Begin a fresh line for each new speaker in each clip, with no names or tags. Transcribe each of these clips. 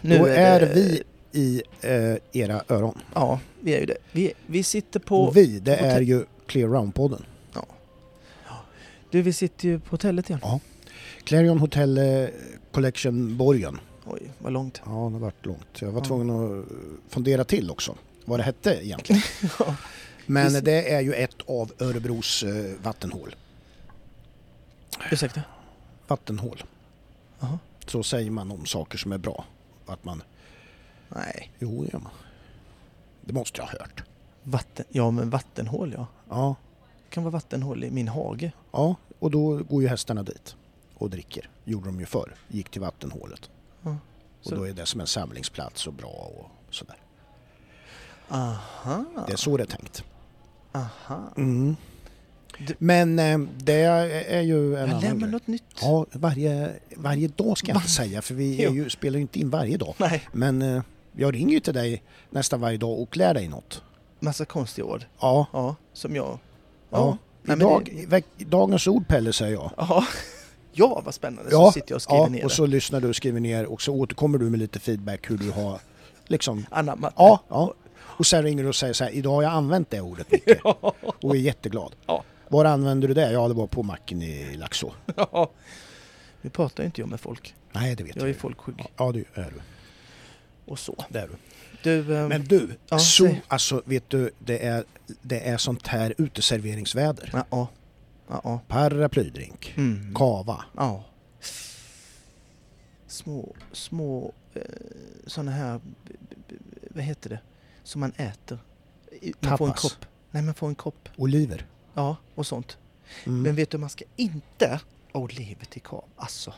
Nu
Då
är,
är,
det,
vi i eh, era öron.
Ja, vi är ju det. Vi, vi sitter på...
vi, det
på
är
te-
ju Clear Round-podden.
Du, vi sitter ju på hotellet igen.
Clarion Hotel eh, Collection Borgen.
Oj, vad långt.
Ja, det har varit långt. Jag var
Ja.
tvungen att eh, fundera till också vad det hette egentligen.
Ja.
Men
Visst.
det är ju ett av Örebros eh, vattenhål.
Ursäkta?
Vattenhål.
Jaha.
Så säger man om saker som är bra. Att man,
Nej.
jo, det gör man. Det måste jag ha hört.
Vatten... Ja, men vattenhål ja.
Ja,
Det kan vara vattenhål i min hage.
ja, och då går ju hästarna dit och dricker. Gjorde de ju förr. Gick till vattenhålet.
Ja.
Och
Så-
då är det som en samlingsplats och bra och sådär.
Aha,
Det är så det är tänkt.
aha.
Mm.
Du-
Men eh, det är ju en
Jag
annan
lämnar
grej.
något nytt.
Ja, varje, varje dag ska jag inte säga för vi är ju, spelar ju inte in varje dag.
Nej,
Men eh, jag ringer ju till dig nästan varje dag och lär dig något.
massa konstiga ord.
Ja,
Ja, som jag.
ja.
Nej, men
Idag,
det-
veck- Dagens ord Pelle säger jag.
Jaha. Ja, vad spännande.
Ja,
Så sitter jag och skriver
ja,
ner
och
det.
så lyssnar du och skriver ner och så återkommer du med lite feedback hur du har liksom.
Anammat.
Ja, ja. Och sen ringer du och säger så här, idag har jag använt det ordet mycket
Ja.
och är jätteglad.
Ja.
Var använder du det? Ja, det var på macken i Laxå.
Ja. Nu pratar ju inte jag med folk.
Nej, det vet
Jag är
jag.
folkskygg
Ja, det är du.
och så.
Det är du.
Du, ehm,
Men du,
Ja,
så,
säg.
alltså vet du, det är, det är sånt här uteserveringsväder.
ja, ja. Ja, ja.
Paraplydrink,
Mm.
kava.
Ja. Små, små eh, sådana här, b- b- b- vad heter det, som man äter. I- Man får en
Tapas.
kopp. Nej, man får en kopp.
oliver.
Ja, och sånt.
Mm.
Men vet du, man ska inte... Oliver till kav. Alltså,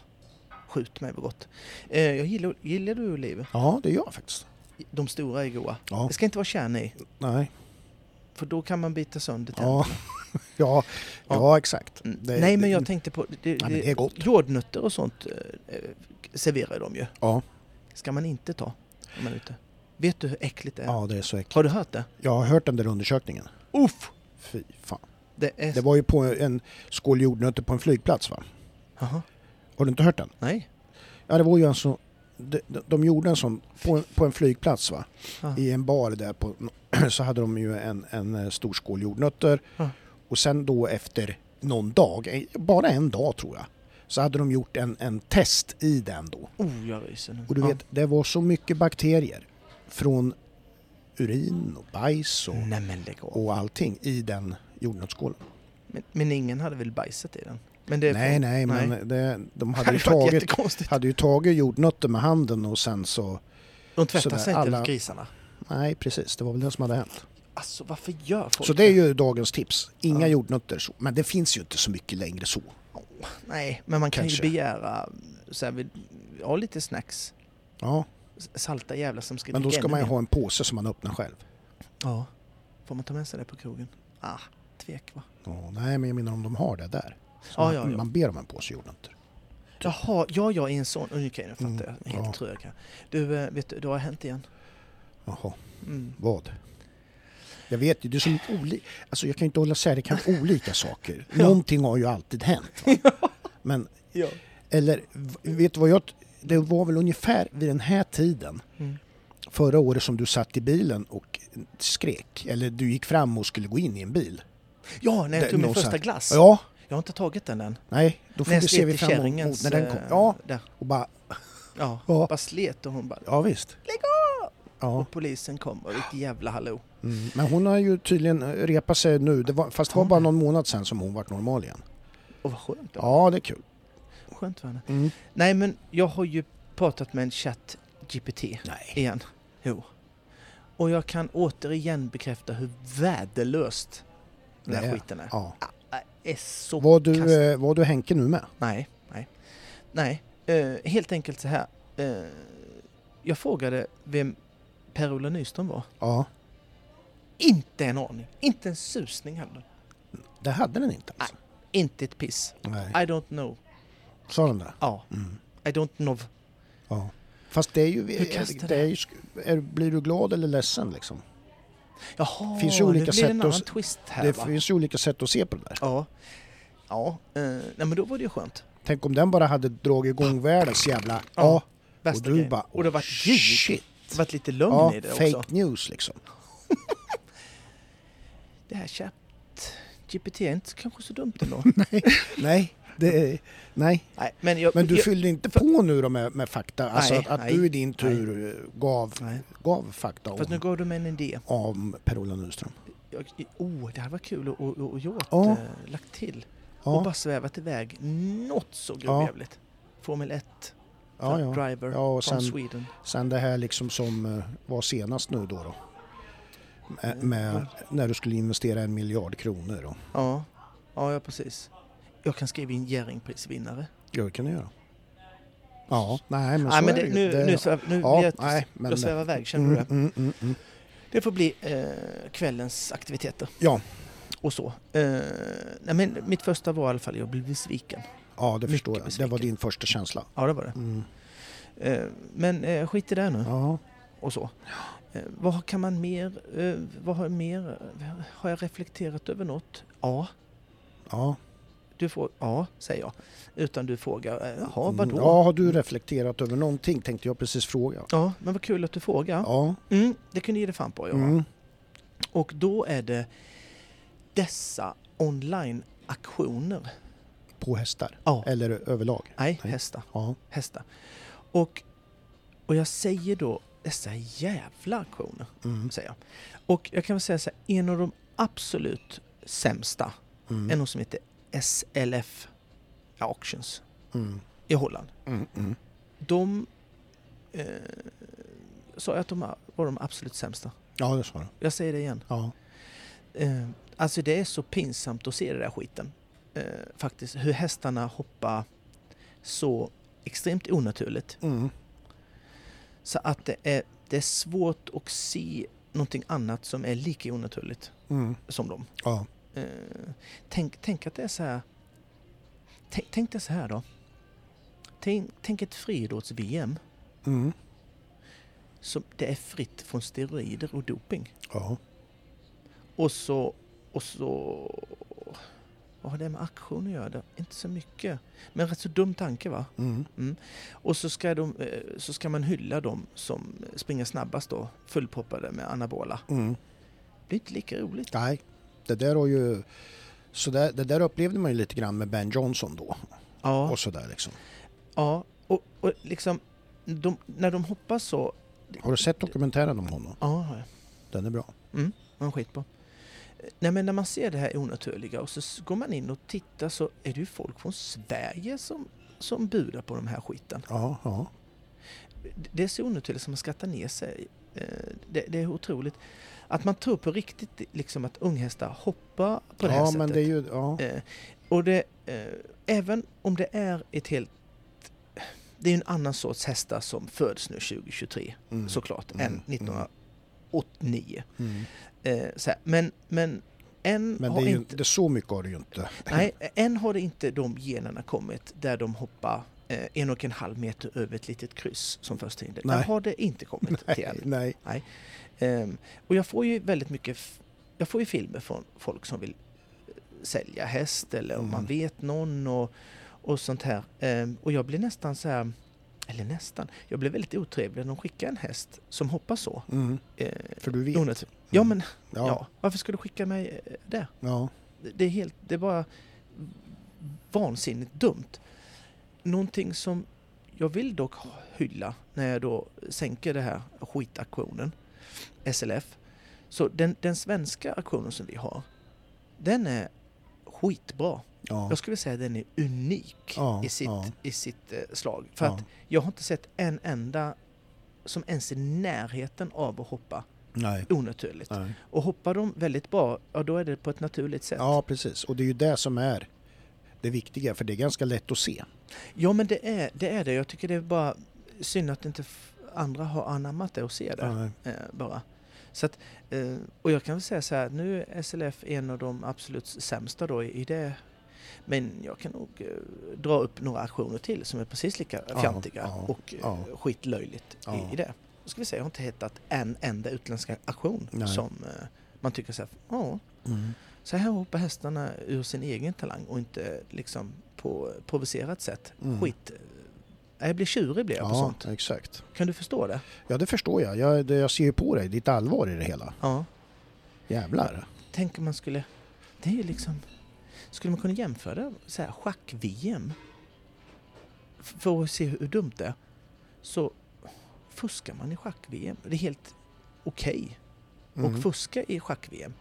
skjut mig vad gott. Eh, jag gillar, gillar du oliver?
ja, det gör jag faktiskt.
De stora är goda.
Ja,
Det ska inte vara kärn i,
nej.
för då kan man bita sönder tänderna.
Ja, ja, ja exakt.
Mm.
Det-
Nej, men
det-
jag tänkte på... Det,
Nej, men det är gott.
Jordnötter och sånt eh, eh, serverar de ju.
Ja,
ska man inte ta om man är ute. Vet du hur äckligt det är?
ja, det är så äckligt.
Har du hört det?
Jag har hört den där undersökningen.
Uff!
Fy fan.
Det är...
Det var ju på en skål jordnötter på en flygplats va?
Jaha,
Har du inte hört den?
nej.
Ja, det var ju alltså... De, de- de gjorde en sån på en, på en flygplats va?
Ja.
I en bar där på, så hade de ju en, en eh, stor skål jordnötter.
Ja.
Och sen då efter någon dag, eh, bara en dag tror jag, så hade de gjort en, en test i den då.
Oh, jag ryser nu.
Och du
Ja.
vet, det var så mycket bakterier från urin och bajs och,
Nej men lägg av.
och allting i den jordnötsskålen.
Men, men ingen hade väl bajsat i den? Men det är
Nej,
från-
nej, men det, de
Det
hade ju
hade varit
tagit,
jättekonstigt.
hade ju tagit jordnötter med handen och sen så...
De tvättar
sådär,
sig inte,
alla-
grisarna.
Nej, precis. Det var väl det som hade hänt.
Alltså varför gör folk
Så det är ju dagens tips. Inga
Ja.
jordnötter. Så. Men det finns ju inte så mycket längre så.
Åh, Nej, men man kan
Kanske.
ju begära så här, vi, ja, lite snacks.
Ja,
S- Salta jävlar som ska
men då
dricka
ska
ännu
man ju
mer.
ha en påse som man öppnar själv.
Ja. Får man ta med sig det på krogen? Ah, tvek va?
Ja, nej, men jag menar om de har det där. Så
Ja,
man,
ja, ja.
man ber om en påse jordnötter.
Jaha, ja, jag är en sån. Okej, nu fattar
Mm,
jag. Helt
ja.
trög här. Du, eh, vet du, det har hänt igen.
Jaha.
Mm.
Vad? Jag vet ju, det är så olika. Alltså jag kan ju inte hålla sär, det kan vara olika saker.
Ja.
Någonting har ju alltid hänt. va? Men,
Ja.
eller, v- vet du vad jag... Det var väl ungefär vid den här tiden
Mm.
förra året som du satt i bilen och skrek. Eller du gick fram och skulle gå in i en bil.
Ja, när jag
Det-
tog min
någon så här-
första glass.
Ja,
Jag har inte tagit den än.
nej, då får
När
vi
jag
se
slet
vi
i
fram
kärringens...
emot när den kom.
eh,
Ja,
Där.
och bara,
Ja,
Ja.
bara slet och hon bara...
ja visst.
Lägg
Ja,
Och polisen kom och ett jävla hallå.
mm. men hon har ju tydligen repat sig nu. Det var, fast det var
Har
bara
det?
någon månad sedan som hon vart normal igen.
Och vad skönt det var.
Ja, det är kul.
Skönt för henne.
Mm.
Nej, men jag har ju pratat med en chatt GPT
Nej.
igen. Jo. Och jag kan återigen bekräfta hur värdelöst den
Det
här
är-
skiten är. Äh,
Ja.
är så
Var du,
kast.
eh, var du Henke nu med?
Nej, nej. Nej, eh, helt enkelt så här. Eh, jag frågade vem Per-Ola Nyström var.
Ja.
Inte en aning. Inte en susning heller.
Det hade den inte alltså?
Inte ett piss.
Nej.
I don't know.
Sa den det?
Ja,
Mm.
I don't know.
Ja. Fast det är ju...
Hur kastar
det är ju sk- är, blir du glad eller ledsen liksom?
Jaha,
Finns ju olika
nu blir
sätt
det en
att-
annan twist här
det
va?
finns ju olika sätt att se på det där.
Ja. Ja, eh, nej men då var det ju skönt.
Tänk om den bara hade dragit igång världens jävla... Ja.
Ja.
och
Värsta
du
grejen.
bara "Oh,
och det har varit ljud.
shit.
Det har varit lite lögn
Ja,
i det
fake
också.
news liksom.
Det här chat GPT är inte kanske så dumt ändå.
Nej, det är, nej.
nej, men jag,
Men du
jag,
fyllde inte på nu då med, med fakta? Alltså
Nej,
att, att
nej,
du i din tur eh, gav,
nej.
gav fakta
Fast nu
om,
gav du mig en idé.
om Per-Ola Nyström?
Jag, oh, det här var kul att och, och, och gjort,
Ja.
eh, lagt till. Och
Ja,
bara svävat iväg något så
Ja.
gruvjävligt. Formel 1,
ja, ja.
driver
Ja, och
från
sen-
Sweden.
Sen det här liksom som eh, var senast nu då. då.
Mm.
Med, med, när du skulle investera en miljard kronor. Då.
Ja. ja, ja precis. Jag kan skriva in Jerringprisvinnare.
Ja, det kan du göra. Ja, nej men så
Nej men det,
är det ju.
nu,
Det-
nu, sväv, nu
ja,
jag,
nej, men,
jag svävar iväg, känner
mm,
du det?
mm, mm, mm.
Det får bli eh, kvällens aktiviteter.
Ja.
Och så. Eh, nej, men mitt första var i alla fall, jag blev besviken.
Ja, det
Mycket
förstår jag. Det var
besviken.
din första känsla.
Ja, det var det.
Mm.
Eh, men eh, skit i det nu.
Ja.
och så. Eh, vad kan man mer, eh, vad har jag mer, har jag reflekterat över något? Ja,
Ja.
du får, ja, säger jag. Utan du frågar, eh, jaha vadå?
Mm, Ja, har du reflekterat över någonting tänkte jag precis fråga.
Ja, men vad kul att du frågar.
Ja.
Mm, det kunde ge dig fan på att göra.
Mm.
Och då är det dessa online-aktioner.
På hästar?
Ja.
Eller överlag?
Nej,
Nej.
hästar,
Ja.
hästar. Och, och jag säger då dessa jävla aktioner,
Mm.
säger jag. Och jag kan väl säga så här, en av de absolut sämsta är
Mm.
något som heter SLF Auctions
Mm.
i Holland.
Mm. Mm.
De eh, sa jag att de var de absolut sämsta.
Ja, det sa du.
Jag säger det igen.
Ja.
Eh, alltså det är så pinsamt att se det där skiten. Eh, faktiskt hur hästarna hoppar så extremt onaturligt.
Mm.
Så att det är, det är svårt att se någonting annat som är lika onaturligt
Mm.
som dem.
Ja.
Eh, tänk, tänk att det är så här. Tänk, tänk det så här då. Tänk, tänk ett friidrotts-VM
Mm.
som det är fritt från steroider och doping.
Ja.
Och så... Och så vad har det med aktion att göra? Det- Inte så mycket. Men rätt så dum tanke va?
Mm.
Och så ska, de, eh, så ska man hylla dem som springer snabbast då, fullproppade med anabola.
Mm.
Det är inte lika roligt.
Nej, det där har ju... Så där, det där upplevde man ju lite grann med Ben Johnson då.
Ja.
Och sådär liksom.
Ja, och, och liksom... De, när de hoppar så...
Har du sett dokumentären om honom?
Ja, har jag.
Den är bra.
man skit på. Nej men när man ser det här onaturliga och så s- går man in och tittar så är det ju folk från Sverige som, som budar på de här skiten.
Ja, ja.
D- Det är så onaturligt som man skrattar ner sig. Eh, Det, det är otroligt. Att man tror på riktigt liksom att unghästar hoppar på det här
ja,
sättet.
men det är ju... Ja.
Eh, Och det, eh, även om det är ett helt... Det är ju en annan sorts hästar som föds nu 2023
Mm.
såklart
Mm.
än
Mm.
1989.
Mm.
Eh, så här. Men, men än
Men det
har
är ju
inte...
inte... Det, så mycket har det ju inte.
Nej, än har det inte de generna kommit där de hoppar eh, en och en halv meter över ett litet kryss som första hinder.
Nej.
Där har det inte kommit till
Nej,
än.
nej.
Ehm, och jag får ju väldigt mycket, f- jag får ju filmer från folk som vill eh, sälja häst eller om man
Mm.
vet någon och, och sånt här. Ehm, och jag blir nästan så här, eller nästan, jag blir väldigt otrevlig när de skickar en häst som hoppar så.
Mm.
Eh,
För du vet. Mm.
onat- ja men ja.
Ja.
varför skulle du skicka mig eh, det?
Ja.
Det är helt, det är bara vansinnigt dumt. Någonting som jag vill dock hylla när jag då sänker det här skitaktionen, SLF. Så den, den svenska aktionen som vi har, den är skitbra.
Ja.
Jag skulle säga den är unik
Ja,
i, sitt,
ja.
i sitt eh, slag. För
ja.
att jag har inte sett en enda som ens är i närheten av att hoppa
Nej.
onaturligt.
nej.
Och hoppar de väldigt bra, ja då är det på ett naturligt sätt.
Ja, precis. Och det är ju det som är det viktiga, för det är ganska lätt att se.
Ja men det är det. Är det. Jag tycker det är bara synd att inte f- andra har anammat det och ser det.
Ja.
Eh, bara. Så att, eh, och jag kan väl säga så här, nu är SLF en av de absolut sämsta då i, i det. Men jag kan nog eh, dra upp några aktioner till som är precis lika
Ja,
fjantiga
ja,
och eh,
ja.
skitlöjligt
Ja.
i, i det. Då ska vi säga, jag har inte hittat en enda utländsk aktion
Nej.
som eh, man tycker så här, ja,
Mm.
så här hoppar hästarna ur sin egen talang och inte liksom på provocerat sätt.
Mm.
Skit Jag blir tjurig blir jag på
Ja,
sånt.
exakt.
Kan du förstå det?
Ja, det förstår jag. Jag, det, jag ser ju på dig ditt allvar i det hela.
Ja.
Jävlar.
Tänk om man skulle... Det är ju liksom... Skulle man kunna jämföra så här, schack-VM? F- För att se hur dumt det är. Så fuskar man i schack-VM. Det är helt okej
Mm.
att fuska i schack-VM.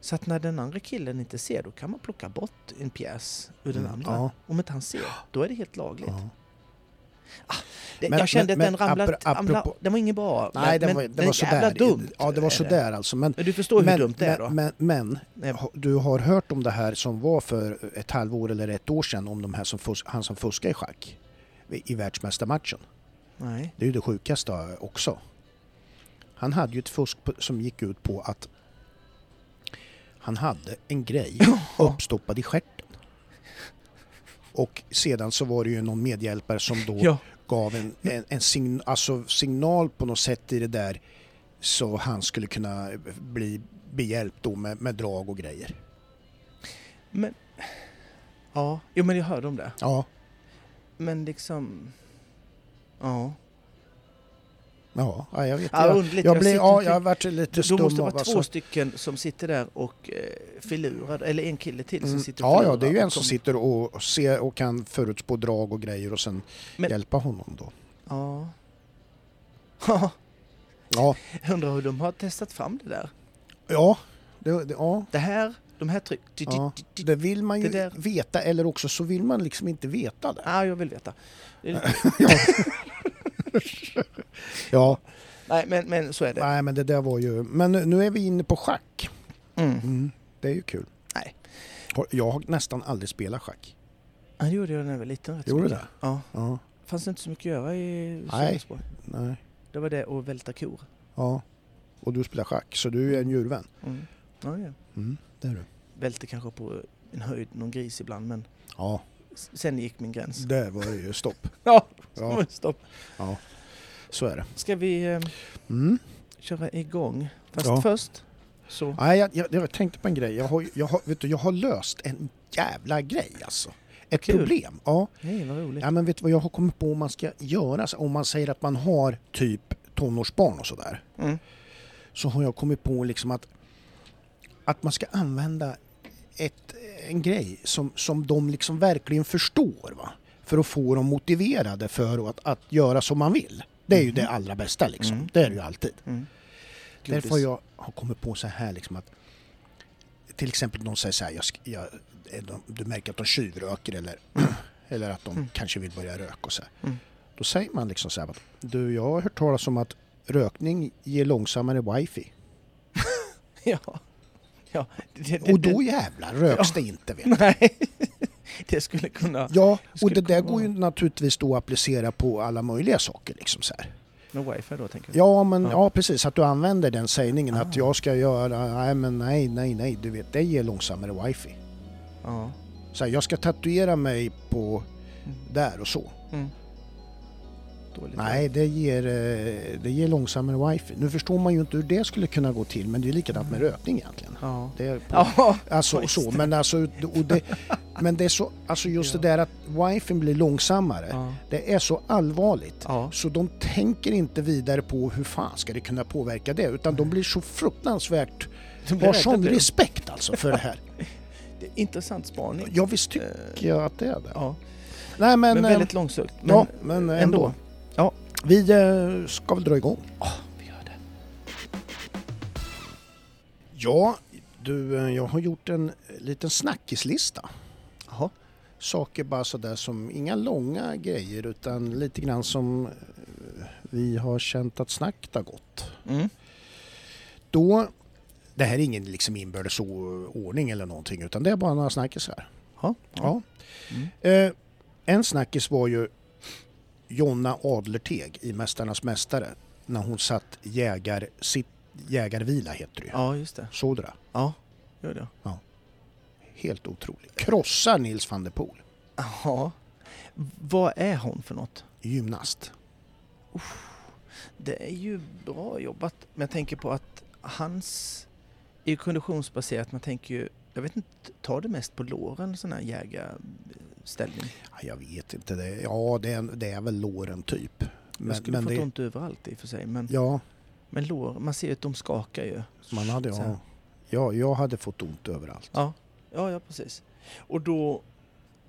Så att när den andra killen inte ser, då kan man plocka bort en pjäs ur den
Mm,
andra.
ja.
Om inte han ser, då är det helt lagligt.
Ja.
Det,
Men-
jag kände
men-
att den
men
ramlade...
apro-
Ramla,
apropå-
den var ingen bra.
Nej,
men,
den
men
var, den
den
var
är jävla
sådär.
dumt.
Ja, det var
är
sådär alltså. Men,
Men du förstår hur
men,
dumt det är då?
men, men,
Nej.
ha- du har hört om det här som var för ett halvår eller ett år sedan om de här som fus- han som fuskade i schack i i världsmästarmatchen.
Nej.
Det är ju det sjukaste också. Han hade ju ett fusk på, som gick ut på att han hade en grej uppstoppad i stjärten. Och sedan så var det ju någon medhjälpare som då
Ja.
gav en, en, en sign, alltså signal på något sätt i det där så han skulle kunna bli behjälpt då med, med drag och grejer.
Men... Ja, jo men jag hörde om det.
Ja,
Men liksom... Ja.
ja, ja, jag vet.
Ja,
jag,
underligt.
jag,
Jag
blev,
sitter
ja,
och tyck-
jag varit lite
Då
stum
måste det
av
vara
alltså.
två stycken som sitter där och eh, filurar, eller en kille till som
Mm,
sitter och
Ja, ja,
filurar
det är ju en
och
som
kom-
sitter och ser och kan förutspå drag och grejer och sen
Men-
hjälpa honom då.
Ja. Ja,
Ja,
undrar hur de har testat fram det där.
ja, det, det, ja,
Det här, de här tryck... di- di-
ja.
di- di-
det vill man ju
det där-
veta eller också så vill man liksom inte veta det.
Ah, jag vill veta. Det är lite-
Ja,
Nej, men, men så är det.
nej men det där var ju... Men nu- nu är vi inne på schack.
Mm.
Mm, det är ju kul.
Nej.
Har- Jag har nästan aldrig spelat schack.
Ja, det gjorde jag när jag var liten. rätt så
Gjorde du
mycket.
det?
Ja.
Ja,
Fanns det inte så mycket att göra i
Nej.
Sölvesborg.
nej.
Det var det och välta kor.
Ja. Och du spelar schack, så du är en djurvän.
Mm. Ja, ja.
Mm, det är du.
Välte kanske på en höjd, någon gris ibland, men
Ja,
s- sen gick min gräns.
där var det ju stopp.
Ja,
Mm. Ja,
stopp.
så är det.
Ska vi eh,
Mm.
köra igång? Fast
Ja.
först så...
Nej, jag, jag, jag tänkte på en grej. Jag har, ju- jag, har, vet du, jag har löst en jävla grej alltså. Ett
Kul.
problem. Ja.
Nej, vad roligt.
ja, men vet du vad jag har kommit på om man ska göra? Så Om man säger att man har typ tonårsbarn och sådär.
Mm.
Så har jag kommit på liksom att, att man ska använda ett, en grej som, som de liksom verkligen förstår. Va? För att få dem motiverade för att, att göra som man vill. Det är ju det allra bästa liksom.
Mhm. Mm.
Det är det ju alltid.
Mm.
Därför har jag har kommit på så här liksom att till exempel någon säger så här, jag, sk- jag, eh, de, du märker att de tjuvröker eller, eller att de
Mm.
kanske vill börja röka och så här.
Mm.
Då säger man liksom så här, att, du jag har hört talas om att rökning ger långsammare wifi.
Ja. ja. Det, det,
Och då jävlar röks det inte vet du.
Det, nej. Det skulle kunna...
Ja, och
skulle
det där
kunna
går ju
vara- liksom
naturligtvis då att applicera på alla möjliga saker liksom så här.
Med wifi då, tänker jag.
Ja, men
Ja.
ja. precis att du använder den sägningen att
Ah.
jag ska göra, nej men nej, nej, nej, du vet det ger långsammare wifi.
Ja.
Så här, jag ska tatuera mig på där och så.
Mm. Dåligt.
Nej, det ger, eh, det ger långsammare wifi. Nu förstår man ju inte hur det skulle kunna gå till, men det är likadant med rökning egentligen.
Ja.
Det är på,
Mm. Ja.
alltså
just
så, men alltså, och det, men det är så, alltså just det där att wifi blir långsammare,
Ja.
det är så allvarligt.
Ja.
Så de tänker inte vidare på hur fan ska det kunna påverka det, utan de blir så fruktansvärt,
De blir
har
rädda,
sån
blir de.
respekt alltså för det här.
Det är Intressant spaning.
Ja, visst
Eh,
tycker jag att det är det.
Ja.
Nej men,
Men
eh,
väldigt långsökt. Men
ja, men ändå.
ändå. Ja.
Vi eh, ska väl dra igång.
Vi gör det.
Ja, du, eh, jag har gjort en eh, liten snackislista.
Jaha.
Saker bara sådär som, inga långa grejer utan lite grann som eh, vi har känt att snacket har gått.
Mm.
Då, det här är ingen liksom inbördes o- ordning eller någonting utan det är bara några snackisar.
Ja.
Ja.
Mm.
Eh, en snackis var ju Jonna Adlerteg i Mästarnas Mästare när hon satt jägar, sitt, jägarvila heter det ju.
ja, just det.
Såg du det?
Ja, gör det.
Helt otroligt. Krossar Nils van der Poel.
Ja. Vad är hon för något?
Gymnast.
Det är ju bra jobbat. Men jag tänker på att hans är ju konditionsbaserat. Man tänker ju, jag vet inte, tar det mest på låren sån här jägar... ställning?
Ja, Jag vet inte. Det, ja, det är, det är väl låren typ.
jag
Men,
skulle
men
fått
det,
ont överallt i och för sig. Men,
ja,
men lår, man ser ju att de skakar ju.
man hade,
Så här.
ja, ja, jag hade fått ont överallt.
Ja, ja, ja precis. Och då,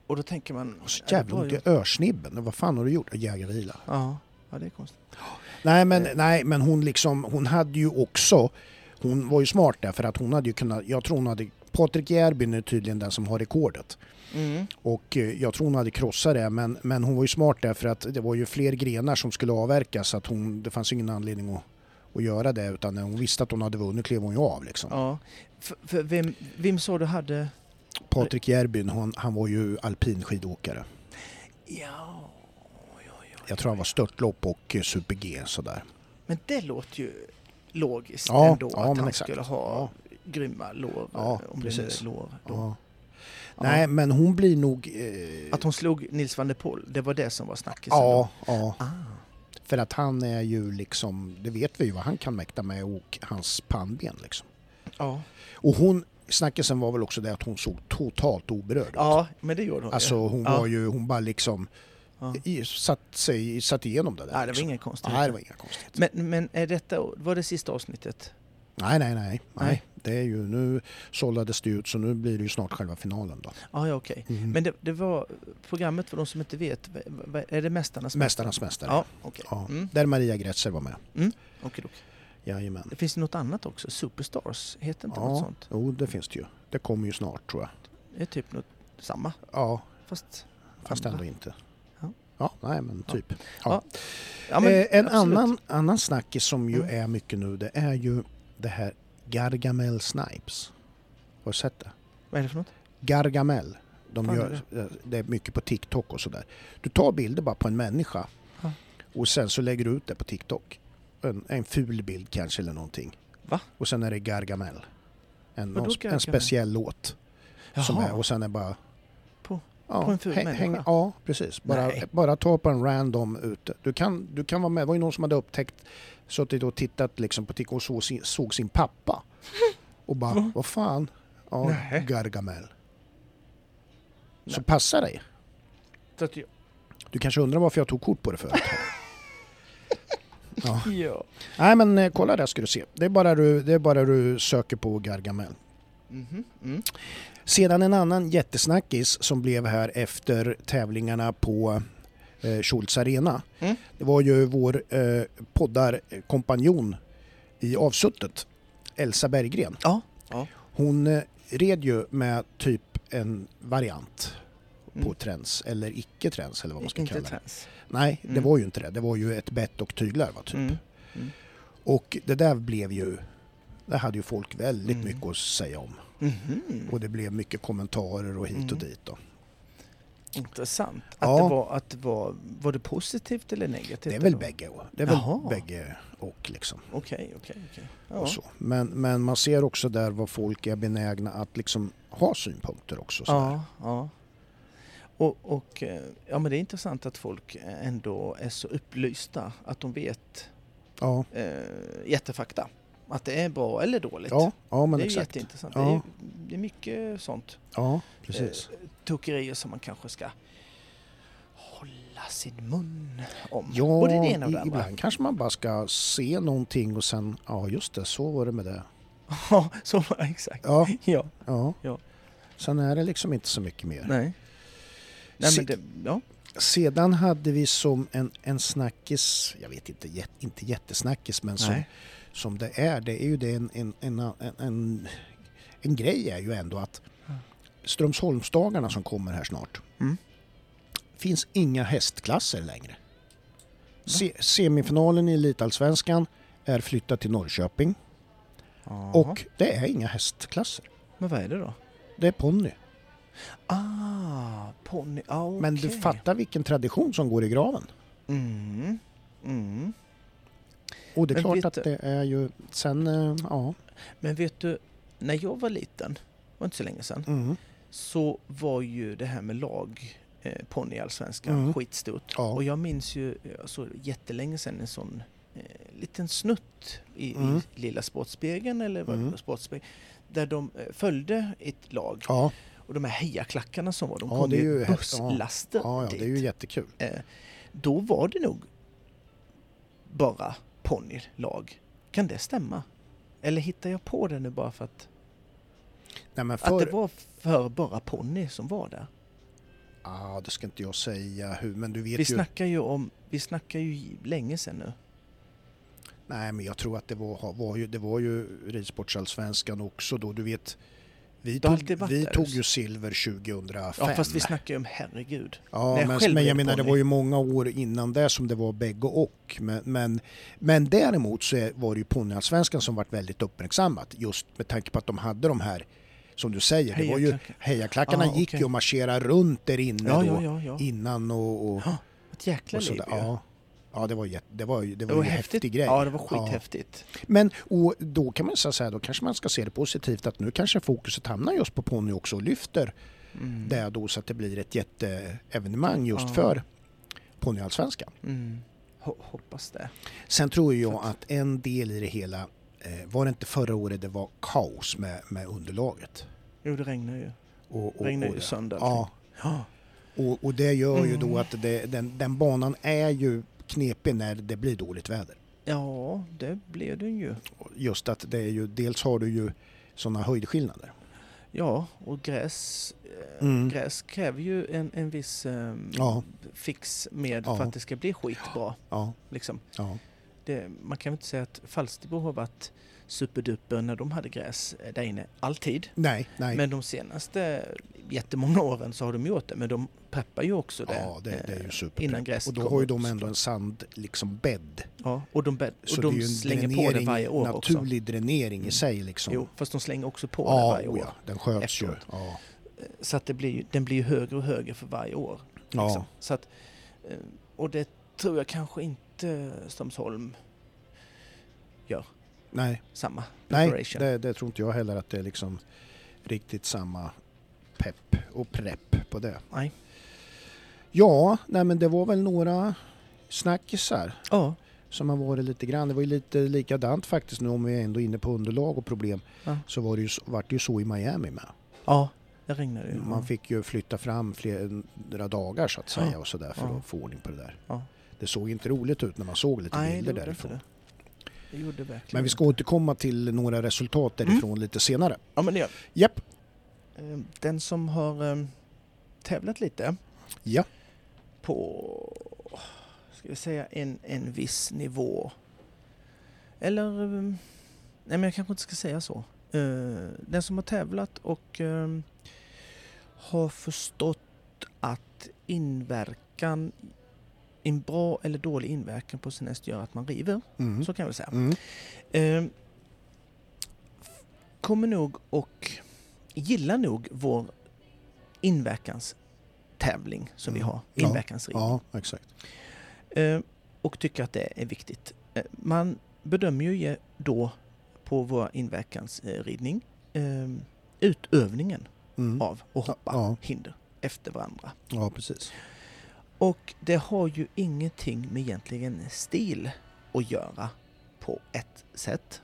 och då tänker man...
Och så
ja, det
jävla
var
ont
ju-
i örsnibben. Vad fan har du gjort? Jägarvila.
Ja, ja, det är konstigt.
Nej
Eh.
men, nej, men hon, liksom, hon hade ju också, hon var ju smart där för att hon hade ju kunnat, jag tror hon hade, Patrik Järbyn är tydligen den som har rekordet
Mm.
och eh, jag tror hon hade krossat det men, men hon var ju smart där för att det var ju fler grenar som skulle avverkas så att hon, det fanns ju ingen anledning att, att göra det utan när hon visste att hon hade vunnit klev hon ju av liksom.
Ja. För, för vem, vem sa du hade...
Patrik Järbyn, han, han var ju alpin skidåkare.
Ja,
Jag tror han var störtlopp och eh, super-G sådär.
men det låter ju logiskt
Ja,
ändå
ja,
att
men
han
exakt.
skulle ha grymma lår.
Ja,
om
precis.
det nu är lår. Då.
Ja.
Ja.
Nej men hon blir nog... Eh,
Att hon slog Nils van der Poel, det var det som var snackisen
ja, ja.
då? Ah.
För att han är ju liksom, det vet vi ju vad han kan mäkta med och hans pannben liksom.
Ja.
Och hon, snackisen var väl också det att hon såg totalt oberörd ut.
ja, men det gjorde hon ju.
Alltså hon
ja.
var ju, hon bara liksom
Ja.
i, satt, sig, satt igenom det där.
Nej, det var
liksom.
inget konstigt.
Nej, det var inga konstigt.
Men, men är detta, var det sista avsnittet?
Nej, nej, nej,
Nej.
nej. Det är ju, nu sållades det ut så nu blir det ju snart själva finalen då.
Ah, ja, okej.
Mm.
Men det, det var programmet för de som inte vet, v- v- är det Mästarnas
Mästarnas mästare.
Ja, okej.
Ja.
Mm.
Där Maria Grätzer var med.
Okej då.
Jajamän.
Det finns ju något annat också, Superstars, heter inte något sånt?
jo det finns det ju. Det kommer ju snart tror jag.
Det är typ något samma,
Ja,
fast...
fast
andra.
ändå inte.
Mm. Ja.
Ja, nej men
Ja.
typ.
Ja, men,
eh, en
absolut.
annan, annan snackis som ju
Mm.
är mycket nu det är ju det här Gargamel Snipes. Har du sett det?
Vad är det för något?
Gargamel. De
Fan,
gör, eh, det är mycket på TikTok och sådär. Du tar bilder bara på en människa
Ja.
och sen så lägger du ut det på TikTok. En, en ful bild kanske eller någonting.
Va?
Och sen är det Gargamel. En,
Vadå
någon,
Gargamel?
en speciell låt. Som
Jaha.
är, och sen är bara...
På-
ja,
på en ful människa?
ja, precis. Bara,
Nej.
bara ta på en random ute. Du kan, du kan vara med. Det var ju någon som hade upptäckt, suttit och tittat liksom på TikTok och såg sin, såg sin pappa. Och bara,
Va?
vad fan? Ja,
Nej.
Gargamel. Så
Nej.
passa dig.
Så att jag-
Du kanske undrar varför jag tog kort på det förut. ja.
Ja.
Nej men eh, kolla där ska du se. Det är bara du, det är bara du söker på Gargamel.
Mhm. Mm.
Sedan en annan jättesnackis som blev här efter tävlingarna på eh, Schultz Arena.
Mm.
Det var ju vår eh, poddarkompanjon i avsuttet, Elsa Berggren.
Ja. Ja.
Hon eh, red ju med typ en variant på
Mm.
trends eller icke trends eller vad man ska
Inte
kalla det.
trans.
Nej, det
Mm.
var ju inte det. Det var ju ett bett och tyglar va, typ.
Mm.
Och det där blev ju, det hade ju folk väldigt
Mm.
mycket att säga om.
Mhm.
Och det blev mycket kommentarer och hit
Mm.
och dit då.
Intressant. Att
Ja.
det var, att det var, var det positivt eller negativt?
Det är väl
då?
bägge och. Det är väl
Jaha.
bägge och liksom.
Okej, okej, okej. Ja.
Och så. Men, men man ser också där vad folk är benägna att liksom ha synpunkter också. Så där.
Ja, ja. Och, och eh, ja, men det är intressant att folk ändå är så upplysta att de vet
ja.
eh, jättefakta. Att det är bra eller dåligt.
ja, ja men
det är ju
exakt.
jätteintressant.
Ja.
Det, är, ju- det är mycket sånt. eh,
Ja, precis.
Tokerier som man kanske ska hålla sin mun om.
Ja,
Både det ena och
i-
det andra.
ibland kanske man bara ska se någonting och sen, ja just det, så var det med det.
Ja, så, exakt.
Ja,
Ja,
ja.
Ja.
Sen är det liksom inte så mycket mer.
nej. Nej, men
Sitt-
det, ja.
Sedan hade vi som en, en snackis, jag vet inte, jät, inte jättesnackis men som,
Nej.
som det är, det är ju det en, en, en, en, en, en grej är ju ändå att
Ja.
Strömsholmsdagarna som kommer här snart
Mm.
finns inga hästklasser längre. Se, semifinalen i Elitallsvenskan är flyttad till Norrköping
Jaha.
och det är inga hästklasser.
Men vad är det då?
Det är ponny.
Ah, ponny. Ah,
Men du
okej.
fattar vilken tradition som går i graven.
Mm. Mm.
Och det är
Men
klart
vet
att
du-
det är ju, sen, eh, ja.
Men vet du, när jag var liten, det var inte så länge sedan,
Mm.
så var ju det här med lag eh, ponny i allsvenskan
Mm.
skitstort.
Ja.
Och jag minns ju alltså, jättelänge sedan en sån eh, liten snutt i,
Mm.
i Lilla Sportspegeln eller vad det
Mm.
var, Sportspegeln, där de eh, följde ett lag
ja.
Och de här hejaklackarna som var, de
Ja,
kom
det är
ju
ju
i
häftigt. Ja.
busslaster
Ja, ja,
dit.
det är ju jättekul.
Eh, Då var det nog bara ponnylag. Kan det stämma? Eller hittar jag på det nu bara för att,
Nej, men
att det
för,
var för bara ponny som var där?
ah, det ska inte jag säga hur, men du vet
Vi
ju.
snackar ju om, vi snackar ju länge sedan nu.
Nej, men jag tror att det var, var, ju, det var ju ridsportsallsvenskan också då. Du vet, vi
Det har
tog,
alltid varit
vi
där,
tog
just.
ju silver 2005.
Ja, fast vi snackar ju om herregud.
Ja,
när jag själv
men, men jag
red
menar det
ponny.
var ju många år innan det som det var bägge och. Men, men, men däremot så är- var det ju ponnyallsvenskan som varit väldigt uppmärksammat just med tanke på att de hade de här, som du säger, det var ju
Hejaklackar.
hejaklackarna
Ah,
gick
okej.
ju och marscherade runt där inne
Ja,
då
ja, ja, ja.
innan och, och,
Ja, ett jäkla
och
liv
sådär.
ju.
Ja. Ja det var, jätte, det var, ju- det var,
Det var
ju en
häftigt.
häftig grej.
Ja, det var
Ja.
skithäftigt.
Men och då kan man säga så här, då kanske man ska se det positivt att nu kanske fokuset hamnar just på ponny också och lyfter
Mm.
det då så att det blir ett jätteevenemang just
Ja.
för ponnyallsvenskan.
Mm. Ho- Hoppas det.
Sen tror jag
För
att en del i det hela, eh, var det inte förra året det var kaos med, med underlaget?
Jo, det regnar ju.
Och,
Det regnar ju sönder.
ja,
Ja.
och, och det gör ju då
Mm.
att det, den, den banan är ju knepig när det blir dåligt väder.
ja, det blev den ju.
Just att det är ju, dels har du ju sådana höjdskillnader.
Ja, och gräs, eh,
Mm.
gräs kräver ju en, en viss eh,
Ja,
fix med
Ja.
för att det ska bli skitbra.
ja,
Liksom.
ja.
Det, man kan väl inte säga att Falsterbo har varit superduper när de hade gräs eh, där inne, alltid.
Nej, nej.
Men de senaste jättemånga åren så har de gjort det, men de preppar ju också det.
ja, det, det är
eh,
ju super.
innan gräset
Och då
kommer
har ju
upp
de
så-
ändå en sand, liksom bädd.
Ja, och de, bädd-
Så
och
det är
de
ju en
slänger
dränering,
på det varje år också.
naturlig dränering
Mm.
i sig liksom.
Jo, fast de slänger också på det
ja,
varje
oh
år.
ja, den sköts
efteråt.
ju. Ja.
Så att det blir, ju- den blir ju högre och högre för varje år.
Ja.
Liksom. Så att, eh, och det tror jag kanske inte Strömsholm
Nej,
samma.
nej
Preparation.
det, det tror inte jag heller att det är liksom riktigt samma pepp och prepp på det.
Nej.
Ja, nej men det var väl några snackisar
Ja,
som har varit lite grann. Det var ju lite likadant faktiskt nu om vi är ändå inne på underlag och problem.
Ja.
Så var det ju, så- vart det ju så i Miami med.
ja det regnade ju.
Man fick ju flytta fram flera dagar så att
Ja.
säga och sådär för
Ja.
att få ordning på det där.
Ja.
Det såg inte roligt ut när man såg lite
Nej, det
bilder
gjorde
därifrån.
inte det. Det gjorde verkligen
Men vi ska
inte.
återkomma till några resultat
Mm.
därifrån lite senare.
Ja, men det gör vi.
Japp,
Eh, Den som har eh, tävlat lite
ja.
på, ska vi säga, en, en viss nivå. Eller, eh, nej men jag kanske inte ska säga så. Eh, Den som har tävlat och eh, har förstått att inverkan, en bra eller dålig inverkan på sin häst gör att man river.
Mm.
Så kan jag väl säga.
Mm.
Eh, kommer nog och gillar nog vår inverkanstävling som vi
Mm.
har,
Ja,
inverkansrid.
Ja, exakt.
Eh, och tycker att det är viktigt. Eh, man bedömer ju ge- då på vår inverkansridning eh, utövningen
Mm.
av att hoppa
Ja,
hinder efter varandra.
ja, precis.
Och det har ju ingenting med egentligen stil att göra på ett sätt.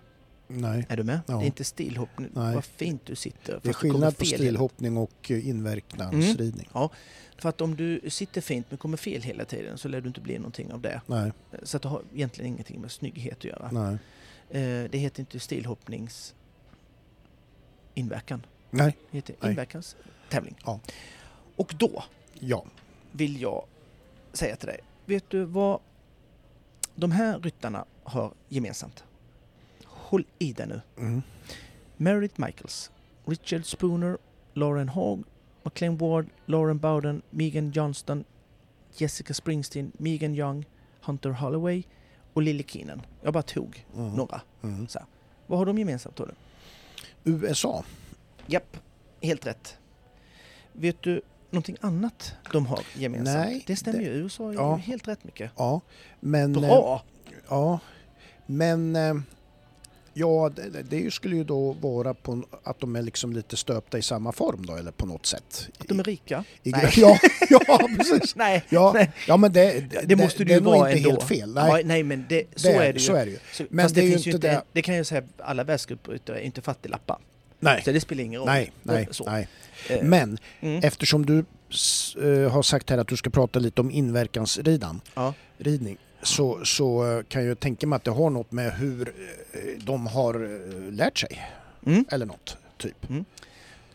Nej.
Är du med?
Ja.
Det är inte stilhoppning.
Nej.
Vad fint du sitter.
Det är
fast du kommer
skillnad på
fel Mm.
stilhoppning och eh, inverkansridning.
hela- För att om du sitter fint men kommer fel hela tiden så lär du inte bli någonting av det.
Nej,
Så att det har egentligen ingenting med snygghet att göra.
nej.
Eh, Det heter inte stilhoppnings inverkan.
Nej,
Det heter
Nej.
inverkanstävling.
Ja.
Och då
ja.
vill jag säga till dig. Vet du vad de här ryttarna har gemensamt? Håll i dig nu.
Mm.
Merritt Michaels, Richard Spooner, Lauren Haag, McLean Ward, Lauren Bowden, Megan Johnston, Jessica Springsteen, Megan Young, Hunter Holloway och Lily Keenan. Jag bara tog
Mm.
några.
Mm.
Vad har de gemensamt då?
USA.
Japp, helt rätt. Vet du någonting annat de har gemensamt?
Nej,
det stämmer
det-
ju. USA är
Ja.
ju helt rätt mycket.
Ja, men... eh,
Bra!
Ja, men... eh, Ja, det, det- det skulle ju då vara på att de är liksom lite stöpta i samma form då, eller på något sätt.
Att de är rika.
I, i,
Nej.
ja, ja, precis.
Nej,
Ja,
nej.
ja men det,
det måste det
är
ju
nog
vara
inte
ändå.
helt fel. Nej,
Nej, nej men det, så är det ju.
Så är det ju.
Så,
Men
fast det,
det är ju
finns ju
inte
inte,
det-
det kan jag säga, alla världscupryttare är inte fattiglappar.
Nej,
Så det spelar ingen roll.
nej, nej,
Så.
nej.
Eh,
Men
mm.
eftersom du s- eh, har sagt här att du ska prata lite om inverkansridan,
Ja.
ridning, så, så eh, kan jag tänka mig att det har något med hur eh, de har eh, lärt sig
Mm.
eller något, typ.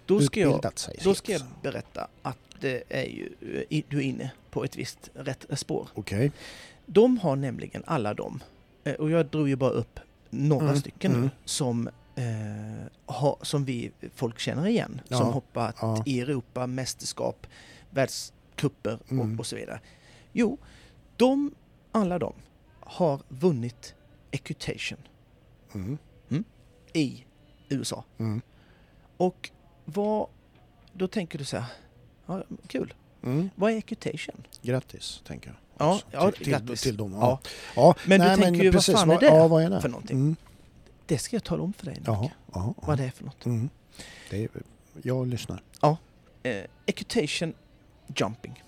Då ska jag
Utbildat sig.
Då ska jag berätta att det är ju, i- du är inne på ett visst rätt spår.
Okej.
De har nämligen alla de, eh, och jag drog ju bara upp några
Mm,
stycken nu,
mm.
som, eh, har, som vi folk känner igen.
Ja,
Som hoppat
ja.
i Europa, mästerskap, världscuper
Mm.
och, och så vidare. Jo, de, alla de har vunnit equitation
Mm.
i USA.
Mm.
Och vad, då tänker du så här, ja, kul,
Mm.
vad är equitation?
Grattis, tänker jag.
Ja,
också.
ja,
Alltså, till, till,
grattis.
till dem.
Ja.
Ja. Ja.
Men du tänker ju, vad
precis,
fan är det
Ja, vad är det?
för någonting?
Mm.
Det ska jag tala om för dig, Nicke,
Jaha, jaha,
vad
jaha.
det är för något.
Mm. Det är, jag lyssnar.
Eh, equitation jumping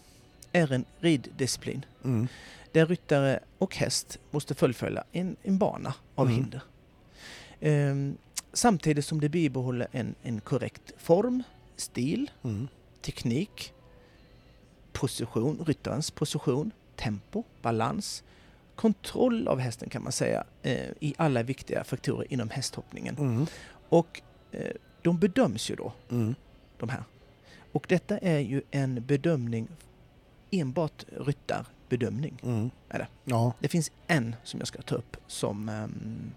är en riddisciplin
Mm.
där ryttare och häst måste fullfölja en, en bana av
Mm.
hinder. Ehm, samtidigt som det bibehåller en, en korrekt form, stil,
Mm.
teknik, position, ryttarens position, tempo, balans, kontroll av hästen kan man säga eh, i alla viktiga faktorer inom hästhoppningen.
Mm.
Och eh, de bedöms ju då,
Mm.
de här. Och detta är ju en bedömning, enbart ryttarbedömning.
Mm.
Är det?
Ja.
Det finns en som jag ska ta upp som, ehm,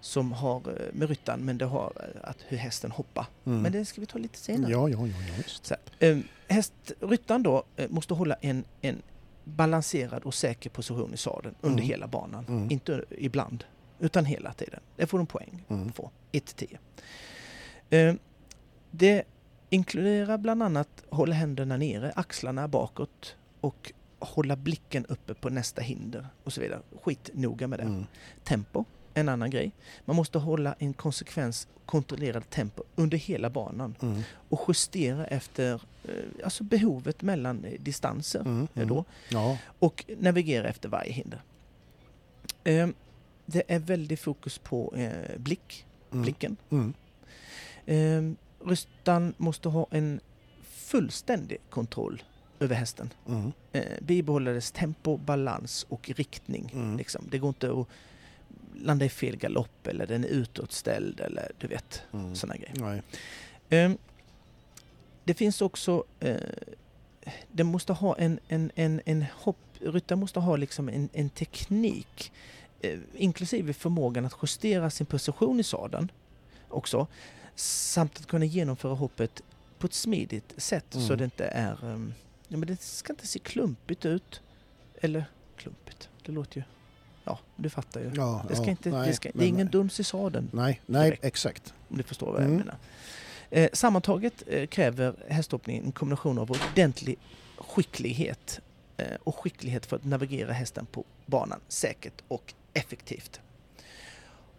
som har eh, med ryttaren, men det har eh, att hur hästen hoppar.
Mm.
Men det ska vi ta lite senare.
Ja, ja, ja, ja visst.
Så här, eh, häst, ryttaren då eh, måste hålla en, en balanserad och säker position i sadeln under
Mm.
hela banan.
Mm.
Inte ibland, utan hela tiden. Det får de poäng
Mm.
få. 1-10. Eh, Det inkluderar bland annat hålla händerna nere, axlarna bakåt och hålla blicken uppe på nästa hinder och så vidare. Skitnoga med det.
Mm.
Tempo, en annan grej. Man måste hålla en konsekvens kontrollerad tempo under hela banan
Mm.
och justera efter eh, alltså behovet mellan eh, distanser
Mm.
eh, då,
Ja.
och navigera efter varje hinder. Eh, Det är väldigt fokus på eh, blick,
Mm.
blicken.
Mm.
Ehm, Ryttaren måste ha en fullständig kontroll över hästen.
Mm.
Eh, bibehålla dess tempo, balans och riktning.
Mm.
Liksom. Det går inte att landa i fel galopp eller den är utåtställd eller du vet,
Mm.
sådana grejer.
Nej.
Ehm, det finns också, eh, den måste ha en, en, en, en hopp, ryttaren måste ha liksom en, en teknik, eh, inklusive förmågan att justera sin position i sadeln också, samt att kunna genomföra hoppet på ett smidigt sätt så
Mm.
det inte är, ehm, ja, men det ska inte se klumpigt ut, eller klumpigt, det låter ju, ja du fattar ju.
Ja,
Det, ska
ja,
inte,
nej,
det, ska, det
men-
är
eh,
ingen duns i sadeln.
Nej, nej,
direkt.
exakt.
Om du förstår vad jag
Mm.
menar. Eh, sammantaget eh, kräver hästhoppningen en kombination av ordentlig skicklighet eh, och skicklighet för att navigera hästen på banan säkert och effektivt.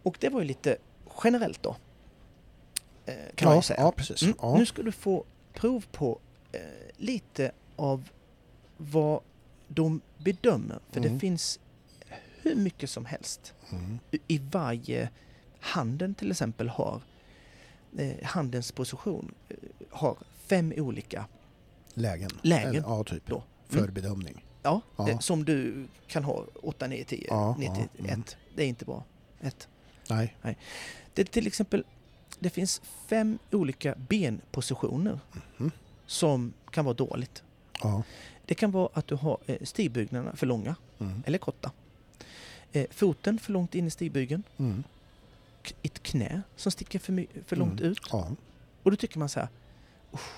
Och det var ju lite generellt då. Eh, kan man
ja,
ju säga.
ja, precis.
Mm.
Ja.
Nu ska du få prov på eh, lite av vad de bedömer. För det
Mm.
finns hur mycket som helst
Mm.
i varje handen till exempel har eh, handens position eh, har fem olika
Lägen.
Lägen.
Eller, ja, typ.
då. Mm.
För bedömning.
Ja,
Ja.
Eh, som du kan ha 8, 9, 10,
Ja,
91.
ja, mm.
Det är inte bra. Ett.
Nej.
Det är till exempel, det finns fem olika benpositioner
Mhm.
som kan vara dåligt.
Ja.
Det kan vara att du har eh, stigbyggnaderna för långa
Mm.
eller korta. Eh, foten för långt in i stigbygeln.
Mm.
K- ett knä som sticker för, my- för långt
Mm.
ut.
Ja.
Och då tycker man så här, "Uff,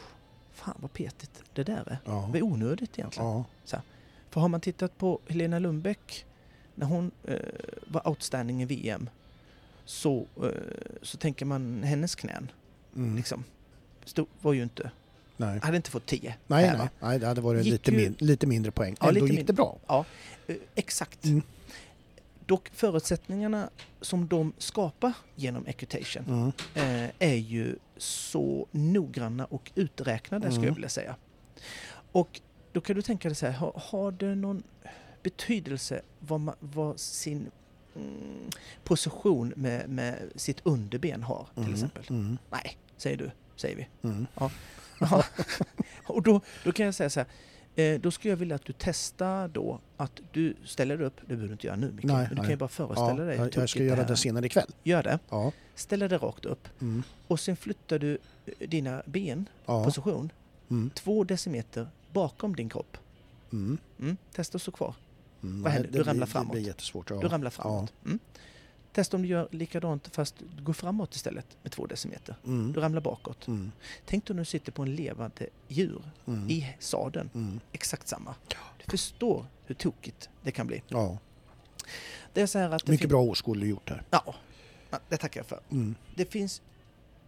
fan vad petigt det där är.
Ja.
Det är onödigt egentligen.
Ja.
För har man tittat på Helena Lundbäck när hon eh, var outstanding i VM så, eh, så tänker man hennes knän
Mm.
liksom, stod, var ju inte,
Nej.
hade inte fått 10.
Nej,
här,
nej,
va?
nej, det hade varit
Gick
lite,
ju-
min, lite mindre poäng.
Ja,
Ändå
lite
gick
min-
det bra.
Eh, exakt.
Mm.
Dock förutsättningarna som de skapar genom equitation
Mm.
eh, är ju så noggranna och uträknade skulle jag
Mm.
vilja säga. Och då kan du tänka dig så här, har, har det någon betydelse vad, man, vad sin mm, position med, med sitt underben har till
Mm,
exempel.
Mm.
Nej, säger du, säger vi.
Mm.
Ja. och då, då kan jag säga så här. Eh, då skulle jag vilja att du testar då att du ställer upp, det behöver du inte göra nu Micke,
Nej,
men du
nej.
kan ju bara
Ja,
föreställa dig hur
jag, jag ska
tokigt
göra
här
det
är.
senare ikväll.
Gör det,
Ja.
ställer det rakt upp
Mm.
och sen flyttar du eh, dina ben,
Ja.
position,
Mm.
två decimeter bakom din kropp.
Mm.
Mm. Testa att stå kvar.
Mm.
Vad händer?
Nej,
Du
det
ramlar
blir,
framåt.
Det blir jättesvårt. Ja.
Du ramlar framåt. Mm. Testa om du gör likadant fast du går framåt istället med två decimeter.
Mm.
Du ramlar bakåt.
Mm.
Tänk dig om du sitter på en levande djur
Mm.
i sadeln.
Mm.
Exakt samma. Du förstår hur tokigt det kan bli.
Ja.
Det är så här att... Det
Mycket
fin-
bra åskådning gjort här.
Ja, ja, det tackar jag för.
Mm.
Det finns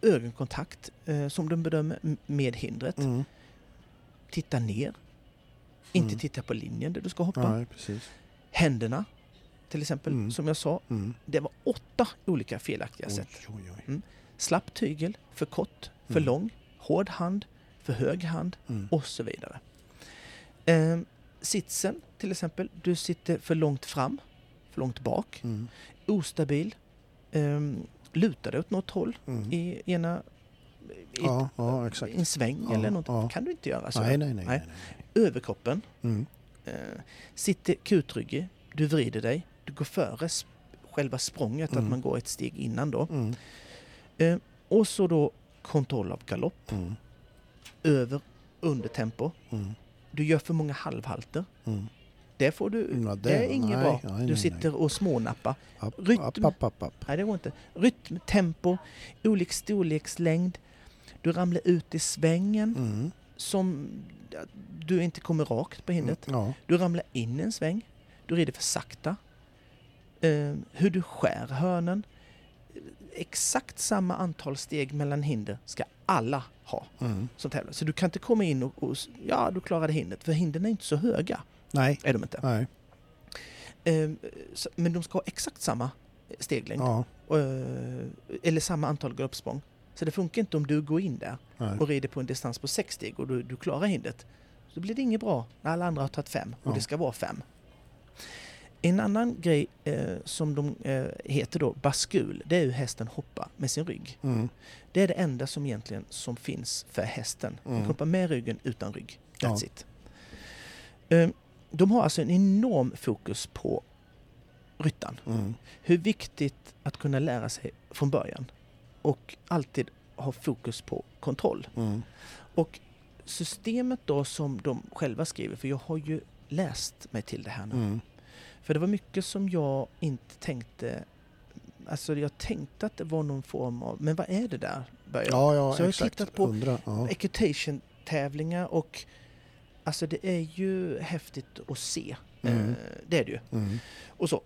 ögonkontakt eh, som de bedömer m- med hindret.
Mm.
Titta ner. Inte
Mm.
titta på linjen där du ska hoppa.
Nej, precis.
Händerna, till exempel,
Mm.
som jag sa.
Mm.
Det var åtta olika felaktiga
Oj,
sätt.
oj, oj.
Slapp tygel, för kort, för
Mm.
lång, hård hand, för hög hand
Mm.
och så vidare. Ehm, sitsen till exempel, du sitter för långt fram, för långt bak,
Mm.
ostabil, ehm, lutar dig åt något håll
Mm.
i ena i
Ja, ja,
ett,
exakt.
en sväng
Ja,
eller något.
ja.
kan du inte göra så.
nej, nej, nej. nej.
Överkroppen,
Mm.
eh, sitter kutryggig, du vrider dig, du går före sp- själva språnget,
Mm.
att man går ett steg innan då.
Mm.
Ehm, och så då kontroll av galopp.
Mm.
över undertempo.
Mm.
Du gör för många halvhalter.
Mm.
Det får du...
Mm, ja,
det,
det-
är inget
nej,
bra.
nej,
du
nej,
sitter och smånappar.
App,
Rytm.
app, app, app, app.
Nej, det går inte. Rytm, tempo, olika storlekslängd. Du ramlar ut i svängen
Mm.
som du inte kommer rakt på
Mm.
hindret.
Ja.
Du ramlar in i en sväng. Du rider för sakta. Eh, hur du skär hörnen. Exakt samma antal steg mellan hinder ska alla ha
Mm.
som tävlar. Så du kan inte komma in och, och s- ja, du klarade hindret. För hindren är inte så höga.
Nej,
Är de inte.
nej.
Ehm, så, men de ska ha exakt samma steglängd.
Ja.
Eh, eller samma antal galoppsprång. Så det funkar inte om du går in där
Nej.
och rider på en distans på sex steg och du, du klarar hindret. Så blir det inget bra när alla andra har tagit fem och
Ja.
det ska vara fem. En annan grej eh, som de eh, heter då baskul, det är hur hästen hoppar med sin rygg.
Mm.
Det är det enda som egentligen som finns för hästen.
Mm.
Den hoppar med ryggen utan rygg. That's
Ja.
it. Ehm, De har alltså en enorm fokus på ryttaren.
Mm.
Hur viktigt att kunna lära sig från början och alltid ha fokus på kontroll.
Mm.
Och systemet då som de själva skriver, för jag har ju läst mig till det här nu.
Mm.
För det var mycket som jag inte tänkte Alltså jag tänkte att det var någon form av, men vad är det där? började jag.
Ja, ja,
Så jag har
exakt.
tittat på-
Undra. Ja.
Equitation-tävlingar och Alltså det är ju häftigt att se.
Mm.
Eh, Det är det ju.
Mm.
Och så.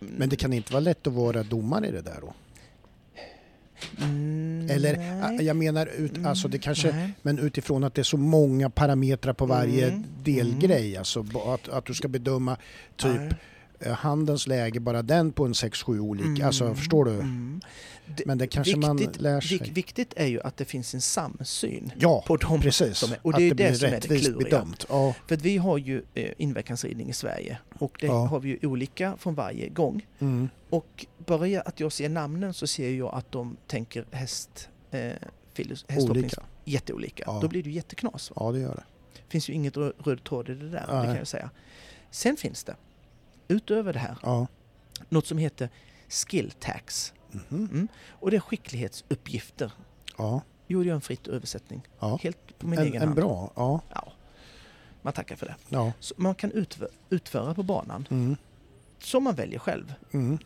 Men det kan inte vara lätt att vara domare i det där då?
Mm,
Eller,
nej.
ä- jag menar, ut, alltså det
Mm,
kanske,
nej.
men utifrån att det är så många parametrar på varje
Mm.
delgrej, alltså ba- att, att du ska bedöma typ
Nej.
eh, handens läge, bara den på en 6-7 olika, alltså
Mm,
förstår du?
mm. Det,
Men det kanske man
viktigt,
lär sig.
vik- viktigt är ju att det finns en samsyn
ja,
på dem.
precis.
som är- och det är
att
det
det
som är
blir
det
rättvist
kluriga.
bedömt. Ja.
För att vi har ju eh, inverkansridning i Sverige och det
Ja.
har vi ju olika från varje gång.
Mm.
Och bara jag- att jag ser namnen så ser jag att de tänker häst, eh, filos, hästhoppning
Olika.
jätteolika.
Ja.
Då blir det ju jätteknas. Va?
Ja, det gör det.
finns ju inget rö- röd tråd i det där, det
Nej.
kan jag säga. Sen finns det, utöver det här,
Ja.
något som heter skill tax.
Mhm.
Och det är skicklighetsuppgifter.
ja.
Gjorde jag en fritt översättning,
ja.
helt på min
En,
egen
en
hand.
bra, ja.
Ja. Man tackar för det.
ja.
Så man kan utfö- utföra på banan,
Mm.
som man väljer själv,
Mm.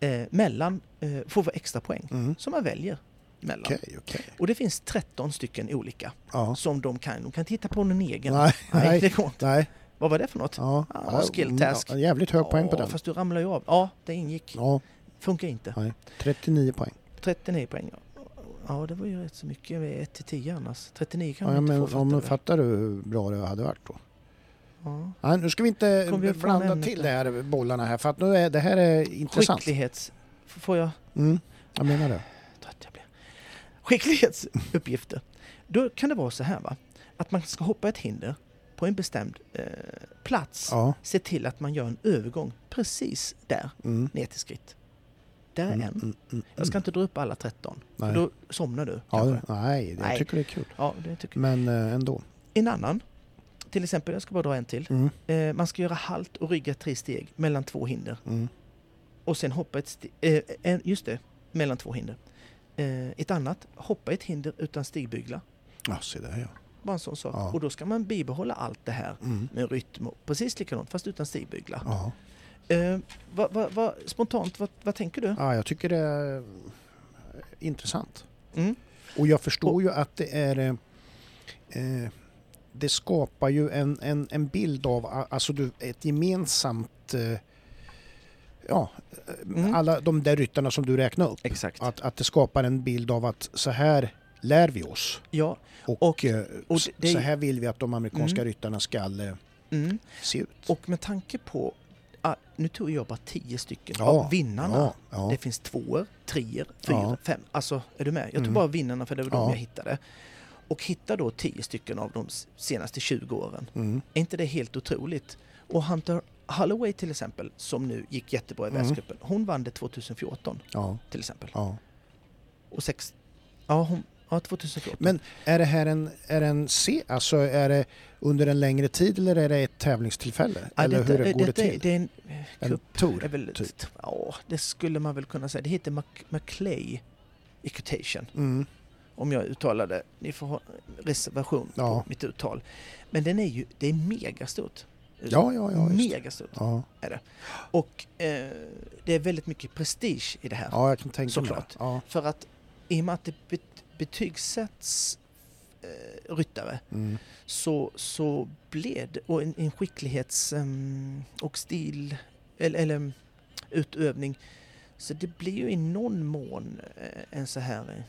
eh, mellan, eh, får vara extra poäng,
Mm.
som man väljer mellan.
Okej, okej.
Och det finns 13 stycken olika
Ja.
som de kan, de kan titta på någon egen.
Nej,
Nej,
nej,
det går inte.
nej.
Vad var det för något?
Ja,
Ja, skill
mm,
task.
ja, jävligt hög poäng på
Ja,
den.
Fast du ramlar ju av. Ja, det ingick.
Ja,
Funkar inte.
nej. 39 poäng.
39 poäng. Ja, det var ju rätt så mycket. 1 till 10 annars. 39 kan man
Ja, ja,
inte
men,
få
ja,
fatta.
men
väl?
fattar du hur bra det hade varit då?
Ja.
Nej, nu ska vi inte
Kom vi ifrån
blanda
ämnet
till
nu?
det här bollarna här för att nu är det här är intressant.
Skicklighets... F- Får jag...
Mm, jag menar det.
Trött jag blir. Skicklighetsuppgifter. Då kan det vara så här va. Att man ska hoppa ett hinder på en bestämd eh, plats,
Ja.
se till att man gör en övergång precis där,
Mm.
ner till skritt. Där är
Mm,
en.
mm, mm,
Jag ska inte dra upp alla 13, för
Nej.
då somnar du.
ja,
kanske.
det, nej, det- jag
Nej.
tycker det är kul.
ja, det tycker jag.
Men eh, ändå.
En annan, till exempel, jag ska bara dra en till.
Mm,
Eh, man ska göra halt och rygga tre steg mellan två hinder.
mm,
Och sen hoppa ett steg, eh, en- just det, mellan två hinder. Eh, ett annat, hoppa ett hinder utan stigbygla.
ja, se där ja.
Bara en sån sak.
Ja.
Och då ska man bibehålla allt det här
Mm,
med rytm och precis likadant fast utan stigbygla.
ja.
Eh, vad- vad- vad- spontant, vad, vad tänker du?
ja, jag tycker det är eh, intressant.
Mm.
Och jag förstår ju att det är... eh, Eh, det skapar ju en, en, en bild av a- alltså du, ett gemensamt... Eh, ja, eh,
Mm.
alla de där ryttarna som du räknar upp.
Exakt.
Att, att det skapar en bild av att så här lär vi oss.
Ja,
Och,
Och-
eh,
och
s-
det-
så här vill vi att de amerikanska
Mm.
ryttarna ska eh,
mm.
se ut.
och med tanke på, ah, nu tog jag bara tio stycken
Ja,
av vinnarna.
ja, ja.
Det finns tvåor, treor, fyra,
Ja.
fem. Alltså, är du med? Jag tog
Mm.
bara vinnarna för det var de
Ja.
jag hittade. Och hitta då tio stycken av de s- senaste 20 åren.
Mm.
Är inte det helt otroligt? Och Hunter Holloway till exempel, som nu gick jättebra i
Mm.
världscupen, hon vann det 2014
Ja,
till exempel.
ja.
Och sex... Ja, hon, ja 2014.
Men är det här en, är det en se, alltså är det under en längre tid eller är det ett tävlingstillfälle?
ja,
eller
detta-
hur det går det
detta är-
till?
Det är en
en
cup.
tour?
är väl,
typ.
t- Ja, det skulle man väl kunna säga. Det heter Mac- Maclay Equitation.
Mm.
om jag uttalade. Ni får ha reservation
Ja.
på mitt uttal. Men den är ju, det är megastort.
Ja, ja, ja. Just. det.
megastort.
Ja.
Och eh, det är väldigt mycket prestige i det här.
ja, jag kan tänka mig
Såklart.
det. Ja.
För att i och med att det bet- betygsätts eh, ryttare
Mm.
så, så blev det, och en, en skicklighets em, och stil eller, eller em, utövning så det blir ju i någon mån eh, en så här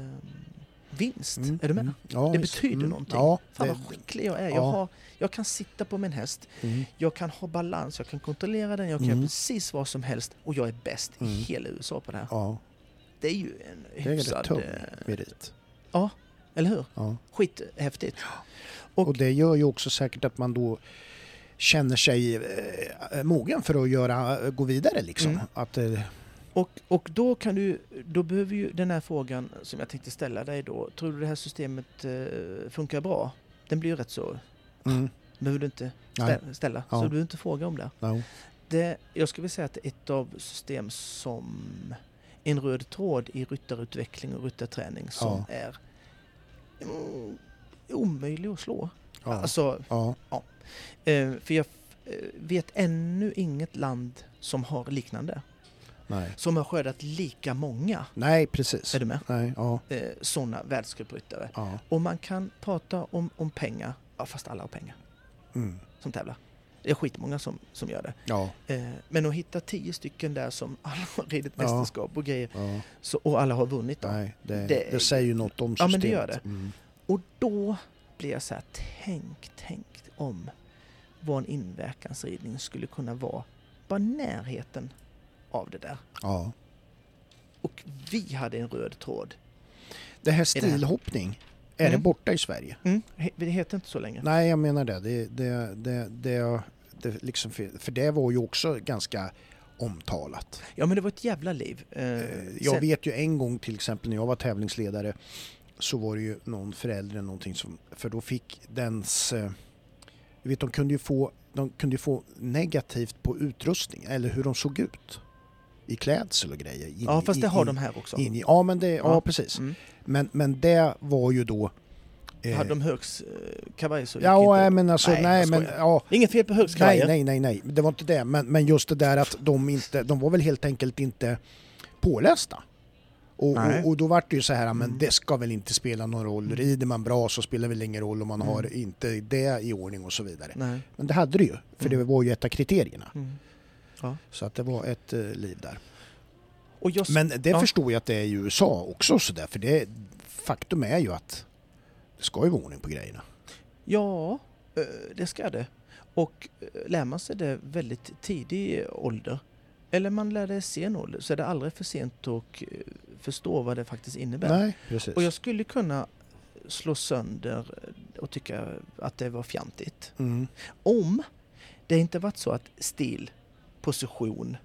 skicklighetsvinst.
Mm.
Är du med?
Mm. Ja,
Det
just.
betyder
Mm.
någonting.
Ja,
Fan
det-
vad skicklig jag är. Jag,
ja.
har, jag kan sitta på min häst,
mm.
jag kan ha balans, jag kan kontrollera den, jag kan
Mm.
göra precis vad som helst och jag är bäst
Mm.
i hela USA på det här.
Ja,
Det är ju en
det är rätt
hyfsad...
tung
eh,
merit.
Eller hur?
Ja.
Skithäftigt. Och-
Och, det gör ju också säkert att man då känner sig eh, mogen för att göra, gå vidare liksom.
Mm.
Att, eh,
Och, och då kan du, då behöver ju den här frågan som jag tänkte ställa dig då, tror du det här systemet eh, funkar bra? Den blir ju rätt så,
mm,
behöver du inte
nej,
stä- ställa,
Ja.
så du behöver inte fråga om det.
no.
Det, jag skulle vilja säga att det är ett av system som en röd tråd i ryttarutveckling och ryttarträning som är mm, omöjlig att slå.
ja,
Alltså,
ja,
eh, för jag eh, vet ännu inget land som har liknande.
nej.
Som har skördat lika många,
nej, precis.
är du med?
Nej, ja,
Eh, sådana världscupryttare.
ja.
Och man kan prata om, om pengar, ja, fast alla har pengar
Mm,
som tävlar. Det är skitmånga som, som gör det.
ja,
Eh, men att hitta tio stycken där som alla har ridit
Ja.
mästerskap och grejer
ja.
Så, och alla har vunnit då.
Nej, det,
Det-
det, säger ju något om
Ja,
systemet.
men det gör det.
Mm.
Och då blir jag så här, tänk, tänk om vad en inverkansridning skulle kunna vara. Bara närheten av det där.
Ja.
Och vi hade en röd tråd. I det
Det här
här.
stilhoppning, är
Mm.
det borta i Sverige?
Mm. he- Det heter inte så länge.
Nej, jag menar det. det, det, det, det, det liksom, för för det var ju också ganska omtalat.
Ja men det var ett jävla liv. Eh,
Eh, Jag
sen-
vet ju en gång till exempel när jag var tävlingsledare så var det ju någon förälder eller någonting som, för då fick dens, eh, du vet de kunde ju få, de kunde ju få negativt på utrustning eller hur de såg ut i klädsel och grejer. In,
ja fast det
in-
har de här också.
in, i- Ja men det, ja,
Ja.
precis.
Mm.
Men, men det var ju då... eh,
Hade de högs eh, kavaj så gick
ja,
inte...
nej, men alltså,
Nej,
nej,
jag
men
skojar.
ja.
Inget fel på
Nej,
högskavajer.
nej, nej, nej, det var inte det. Men, men just det där att de inte, de var väl helt enkelt inte pålästa. Och,
Nej.
och, och då var det ju så här, men
Mm.
det ska väl inte spela någon roll.
Mm.
Rider man bra så spelar det väl ingen roll om man
Mm.
har inte det i ordning och så vidare.
nej.
Men det hade det ju, för
Mm.
det var ju ett av kriterierna.
Mm.
Så att det var ett eh, liv där.
Och jag...
Men det
Ja.
förstår jag att det är i USA också så där, för det, faktum är ju att det ska ju vara ordning på grejerna.
Ja, eh, det ska det. Och eh, lär man sig det väldigt tidig ålder, eller man lär det i sen ålder, så är det aldrig för sent att eh, förstå vad det faktiskt innebär.
Nej, precis.
Och jag skulle kunna slå sönder eh, och tycka att det var fjantigt.
Mm.
Om det inte varit så att stil, position,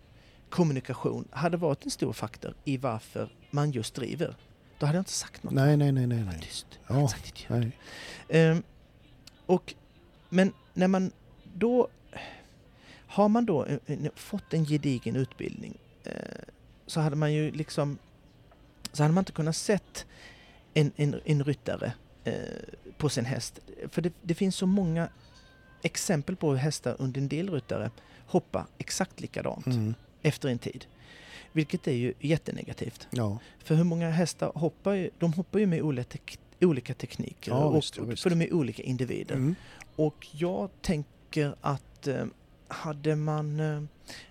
kommunikation hade varit en stor faktor i varför man just driver. Då hade jag inte sagt något.
Nej, nej, nej, nej.
Jag var
nej.
tyst. Jag hade
Ja,
inte sagt ett ljud.
nej.
Ehm, och, men när man då... Har man då en, en, fått en gedigen utbildning eh, så hade man ju liksom... Så hade man inte kunnat sett en, en, en ryttare eh, på sin häst. För det, det finns så många exempel på hur hästar under en del ryttare hoppar exakt likadant
Mm.
efter en tid. Vilket är ju jättenegativt.
Ja,
För hur många hästar hoppar ju, de hoppar ju med olika, tek, olika tekniker.
Ja,
och,
visst, ja, visst.
För de är olika individer.
mm.
Och jag tänker att eh, hade man eh,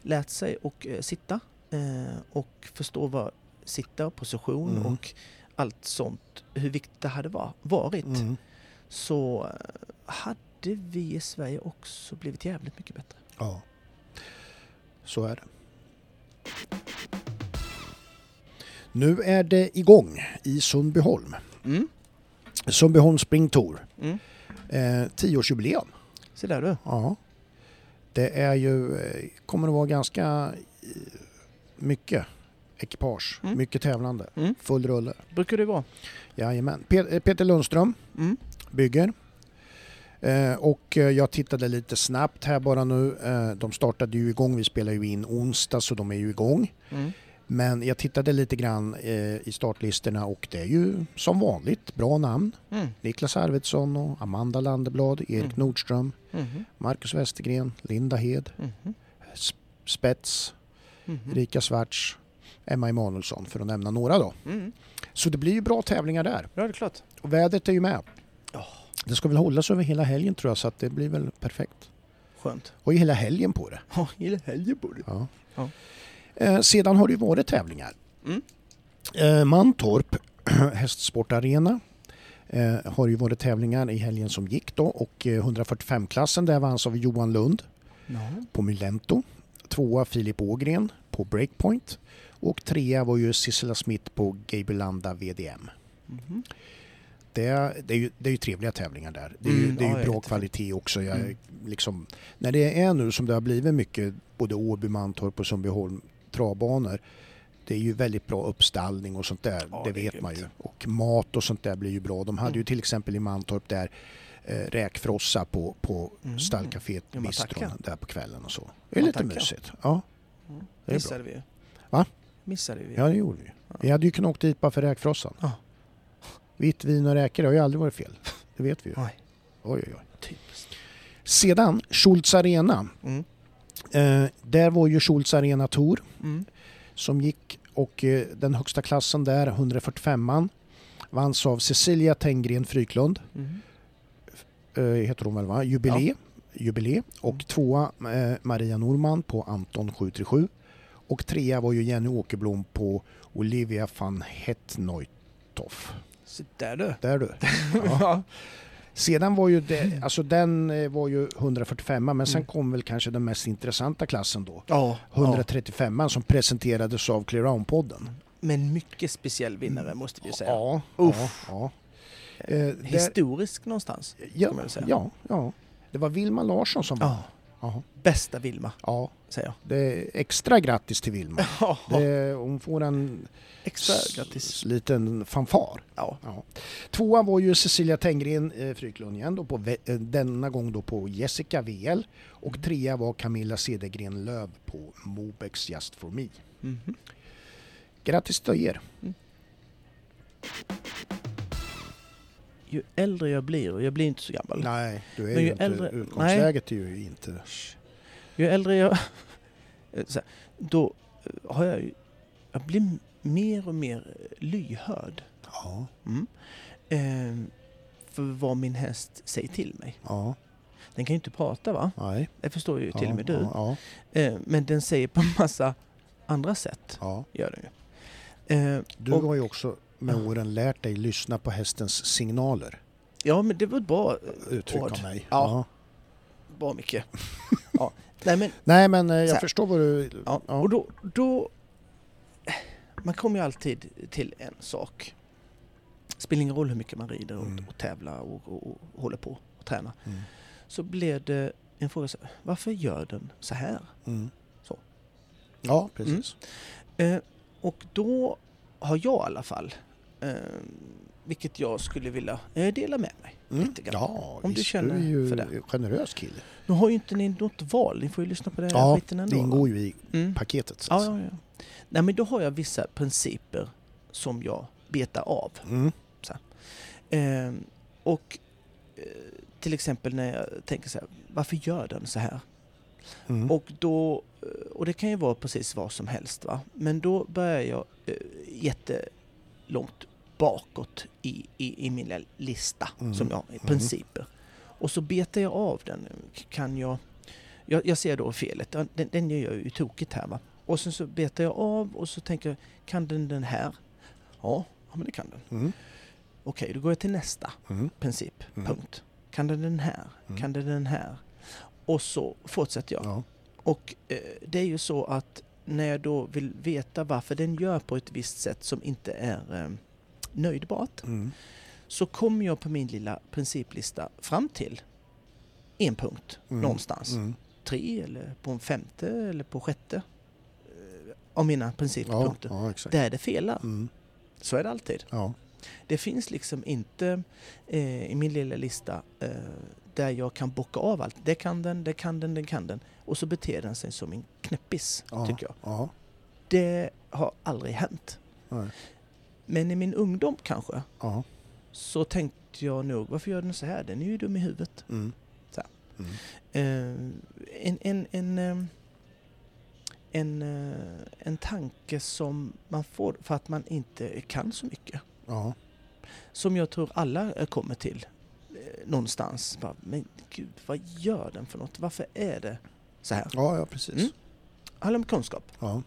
lärt sig och eh, sitta eh, och förstå vad sitta, position
Mm.
och allt sånt, hur viktigt det hade var, varit,
Mm.
så eh, hade vi i Sverige också blivit jävligt mycket bättre.
ja. Så är det. Nu är det igång i Sundbyholm.
Mm.
Sundbyholm Spring Tour.
Mm.
Eh, tioårsjubileum.
Så där du.
Ja. Det är ju, eh, kommer att vara ganska eh, mycket ekipage,
Mm.
mycket tävlande,
Mm.
full rulle.
Brukar det vara.
Jajamän. Pe- eh, Peter Lundström
Mm.
bygger. Eh, och eh, jag tittade lite snabbt här bara nu. Eh, de startade ju igång, vi spelar ju in onsdag så de är ju igång.
Mm.
Men jag tittade lite grann eh, i startlistorna och det är ju som vanligt bra namn.
Mm.
Niklas Arvidsson och Amanda Landeblad, Erik
Mm.
Nordström,
Mhm.
Marcus Westergren, Linda Hed,
Mhm.
S- Spets,
Mhm.
Erika Svarts, Emma Emanuelsson för att nämna några då.
Mm.
Så det blir ju bra tävlingar där.
Ja, det är klart.
Och vädret är ju med.
Ja.
Det ska väl hållas över hela helgen tror jag så att det blir väl perfekt.
Skönt.
Har ju hela helgen på det.
Ja, hela helgen borde
Ja.
Ja.
Eh, sedan har det ju varit tävlingar.
Mm.
Eh, Mantorp hästsportarena eh, har ju varit tävlingar i helgen som gick då och eh, 145-klassen där vanns av Johan Lund
Ja.
på Mylento. Tvåa Filip Ågren på Breakpoint och trea var ju Sissela Smith på Gabrielanda VDM.
Mhm.
Det är, det, är ju, det är ju trevliga tävävlingar där. Det är ju,
Mm,
det är ju
ja,
bra
jättefint.
kvalitet också. Jag,
Mm.
liksom, när det är nu som det har blivit mycket, både Åby, Mantorp och Sundbyholm, travbanor. Det är ju väldigt bra uppstallning och sånt där,
Ja,
det
det är
vet man ju.
grymt.
Och mat och sånt där blir ju bra. De hade ju
Mm.
till exempel i Mantorp där eh, räkfrossa på, på
Mm.
stallcaféet
Ja, man
Bistron
tackar.
där på kvällen och så. Det är
Man
lite
tackar.
mysigt. Ja,
Mm.
det är bra.
Missade vi ju.
Va?
Missade vi ju.
Ja, det gjorde vi. Vi hade ju kunnat åka dit bara för räkfrossan.
Ja.
Vitt vin och räkor det har ju aldrig varit fel. Det vet vi ju.
Nej.
Oj, oj, oj.
Typiskt.
Sedan Schultz Arena.
Mm.
Eh, där var ju Schultz Arena Tour
Mm.
som gick och eh, den högsta klassen där, 145an, vanns av Cecilia Tenggren Fryklund,
Mm.
eh, heter hon väl va? Jubilee. Jubilee. Och
Mm.
tvåa eh, Maria Norman på Anton 737. Och trea var ju Jenny Åkerblom på Olivia van Hetneuthoff.
Så där du.
Där du.
Ja.
Sedan var ju det, alltså den eh, var ju 145 men sen
Mm.
kom väl kanske den mest intressanta klassen då.
ja.
135an som presenterades av ClearOwn-podden.
Men mycket speciell vinnare måste vi ju säga.
Ja,
Uff.
ja, ja. Eh, där,
Historisk någonstans.
ja,
kan man väl säga.
ja, ja. Det var Vilma Larsson som vann.
Ja.
Ja.
Bästa Vilma,
ja.
säger jag.
Det är extra grattis till Vilma.
Ja.
Det, hon får en
Extra
s-
grattis.
liten fanfar.
Ja.
Tvåa var ju Cecilia Tenggren eh, Fryklund igen då på, ve- eh, denna gång då på Jessica VL och trea var Camilla Cedergren Löv på Mobex Just For Me. Mm-hmm.
Mhm.
Grattis till er!
Ju äldre jag blir, och jag blir inte så gammal.
Nej, du är
Men
ju
ju
inte,
äldre-
utgångsläget är ju inte...
Ju äldre jag... Så här, då eh, har jag ju... Jag blir m- mer och mer eh, lyhörd.
Ja,
Mm. Ehm, för vad min häst säger till mig.
ja,
Den kan ju inte prata va?
nej.
Det förstår ju
Ja,
till och med du.
Ja, ja,
Eh, men den säger på en massa andra sätt.
ja.
Gör den ju. Eh,
Du
Och-
har ju också med åren lärt dig lyssna på hästens signaler.
ja men det var ett bra, Ord.
Uttrycka mig.
Ja. bra mycket. ja. Nej men,
Nej men eh, jag
Så här.
förstår vad du...
ja.
Ja.
och då, då... Man kommer ju alltid till en sak. spelar ingen roll hur mycket man rider och,
Mm.
och tävlar och, och, och håller på och tränar.
Mm.
Så blev det en fråga, så, här, varför gör den så här?
Mm.
Så. Mm.
Ja, precis.
Eh, och då har jag i alla fall, eh, vilket jag skulle vilja eh, dela med mig.
Mm.
Lite grann.
Ja,
Om du
visst,
känner
du är ju
för det.
generös kille.
Nu har ju inte ni något val, ni får ju lyssna på den här
Ja,
skiten
Det
ändå. va?
ingår ju i
Mm.
paketet. Så
Ja,
att.
ja, ja. Nej, men då har jag vissa principer som jag betar av.
Mm.
Eh, och eh, till exempel när jag tänker så här, varför gör den så här?
Mm.
Och, då, eh, och det kan ju vara precis vad som helst. Va? Men då börjar jag eh, jättelångt bakåt i, i, i min lilla lista,
Mm.
som jag har, principer. Och så betar jag av den. K- Kan jag, jag, jag ser då felet, Ja, den, den gör jag ju tokigt här. Va? Och sen så betar jag av och så tänker jag, kan den den här? Ja, ja men det kan den.
Mm.
Okej, då går jag till nästa
Mm.
princip,
Mm.
punkt. Kan den den här?
Mm.
Kan den den här? Och så fortsätter jag.
Ja.
Och eh, det är ju så att när jag då vill veta varför den gör på ett visst sätt som inte är eh, nöjdbart
Mm.
så kommer jag på min lilla principlista fram till en punkt
Mm.
någonstans.
Mm.
Tre eller på en femte eller på sjätte eh, av mina
Ja,
princippunkter.
ja, exakt.
Där det felar.
Mm.
Så är det alltid.
Ja.
Det finns liksom inte eh, i min lilla lista eh, där jag kan bocka av allt. Det kan den, det kan den, den kan den. Och så beter den sig som en knäppis,
Ja.
tycker jag.
Ja.
Det har aldrig hänt.
Nej.
Men i min ungdom kanske,
Ja.
så tänkte jag nog, varför gör den så här? Den är ju dum i huvudet.
Mm.
Så här.
Mm.
Eh, en, en, en, eh, en, eh, en tanke som man får för att man inte kan så mycket.
Ja.
Som jag tror alla eh, kommer till eh, någonstans. Bara, men gud, vad gör den för något? Varför är det så här?
ja, ja, precis.
Mm. Handlar om kunskap.
Ja.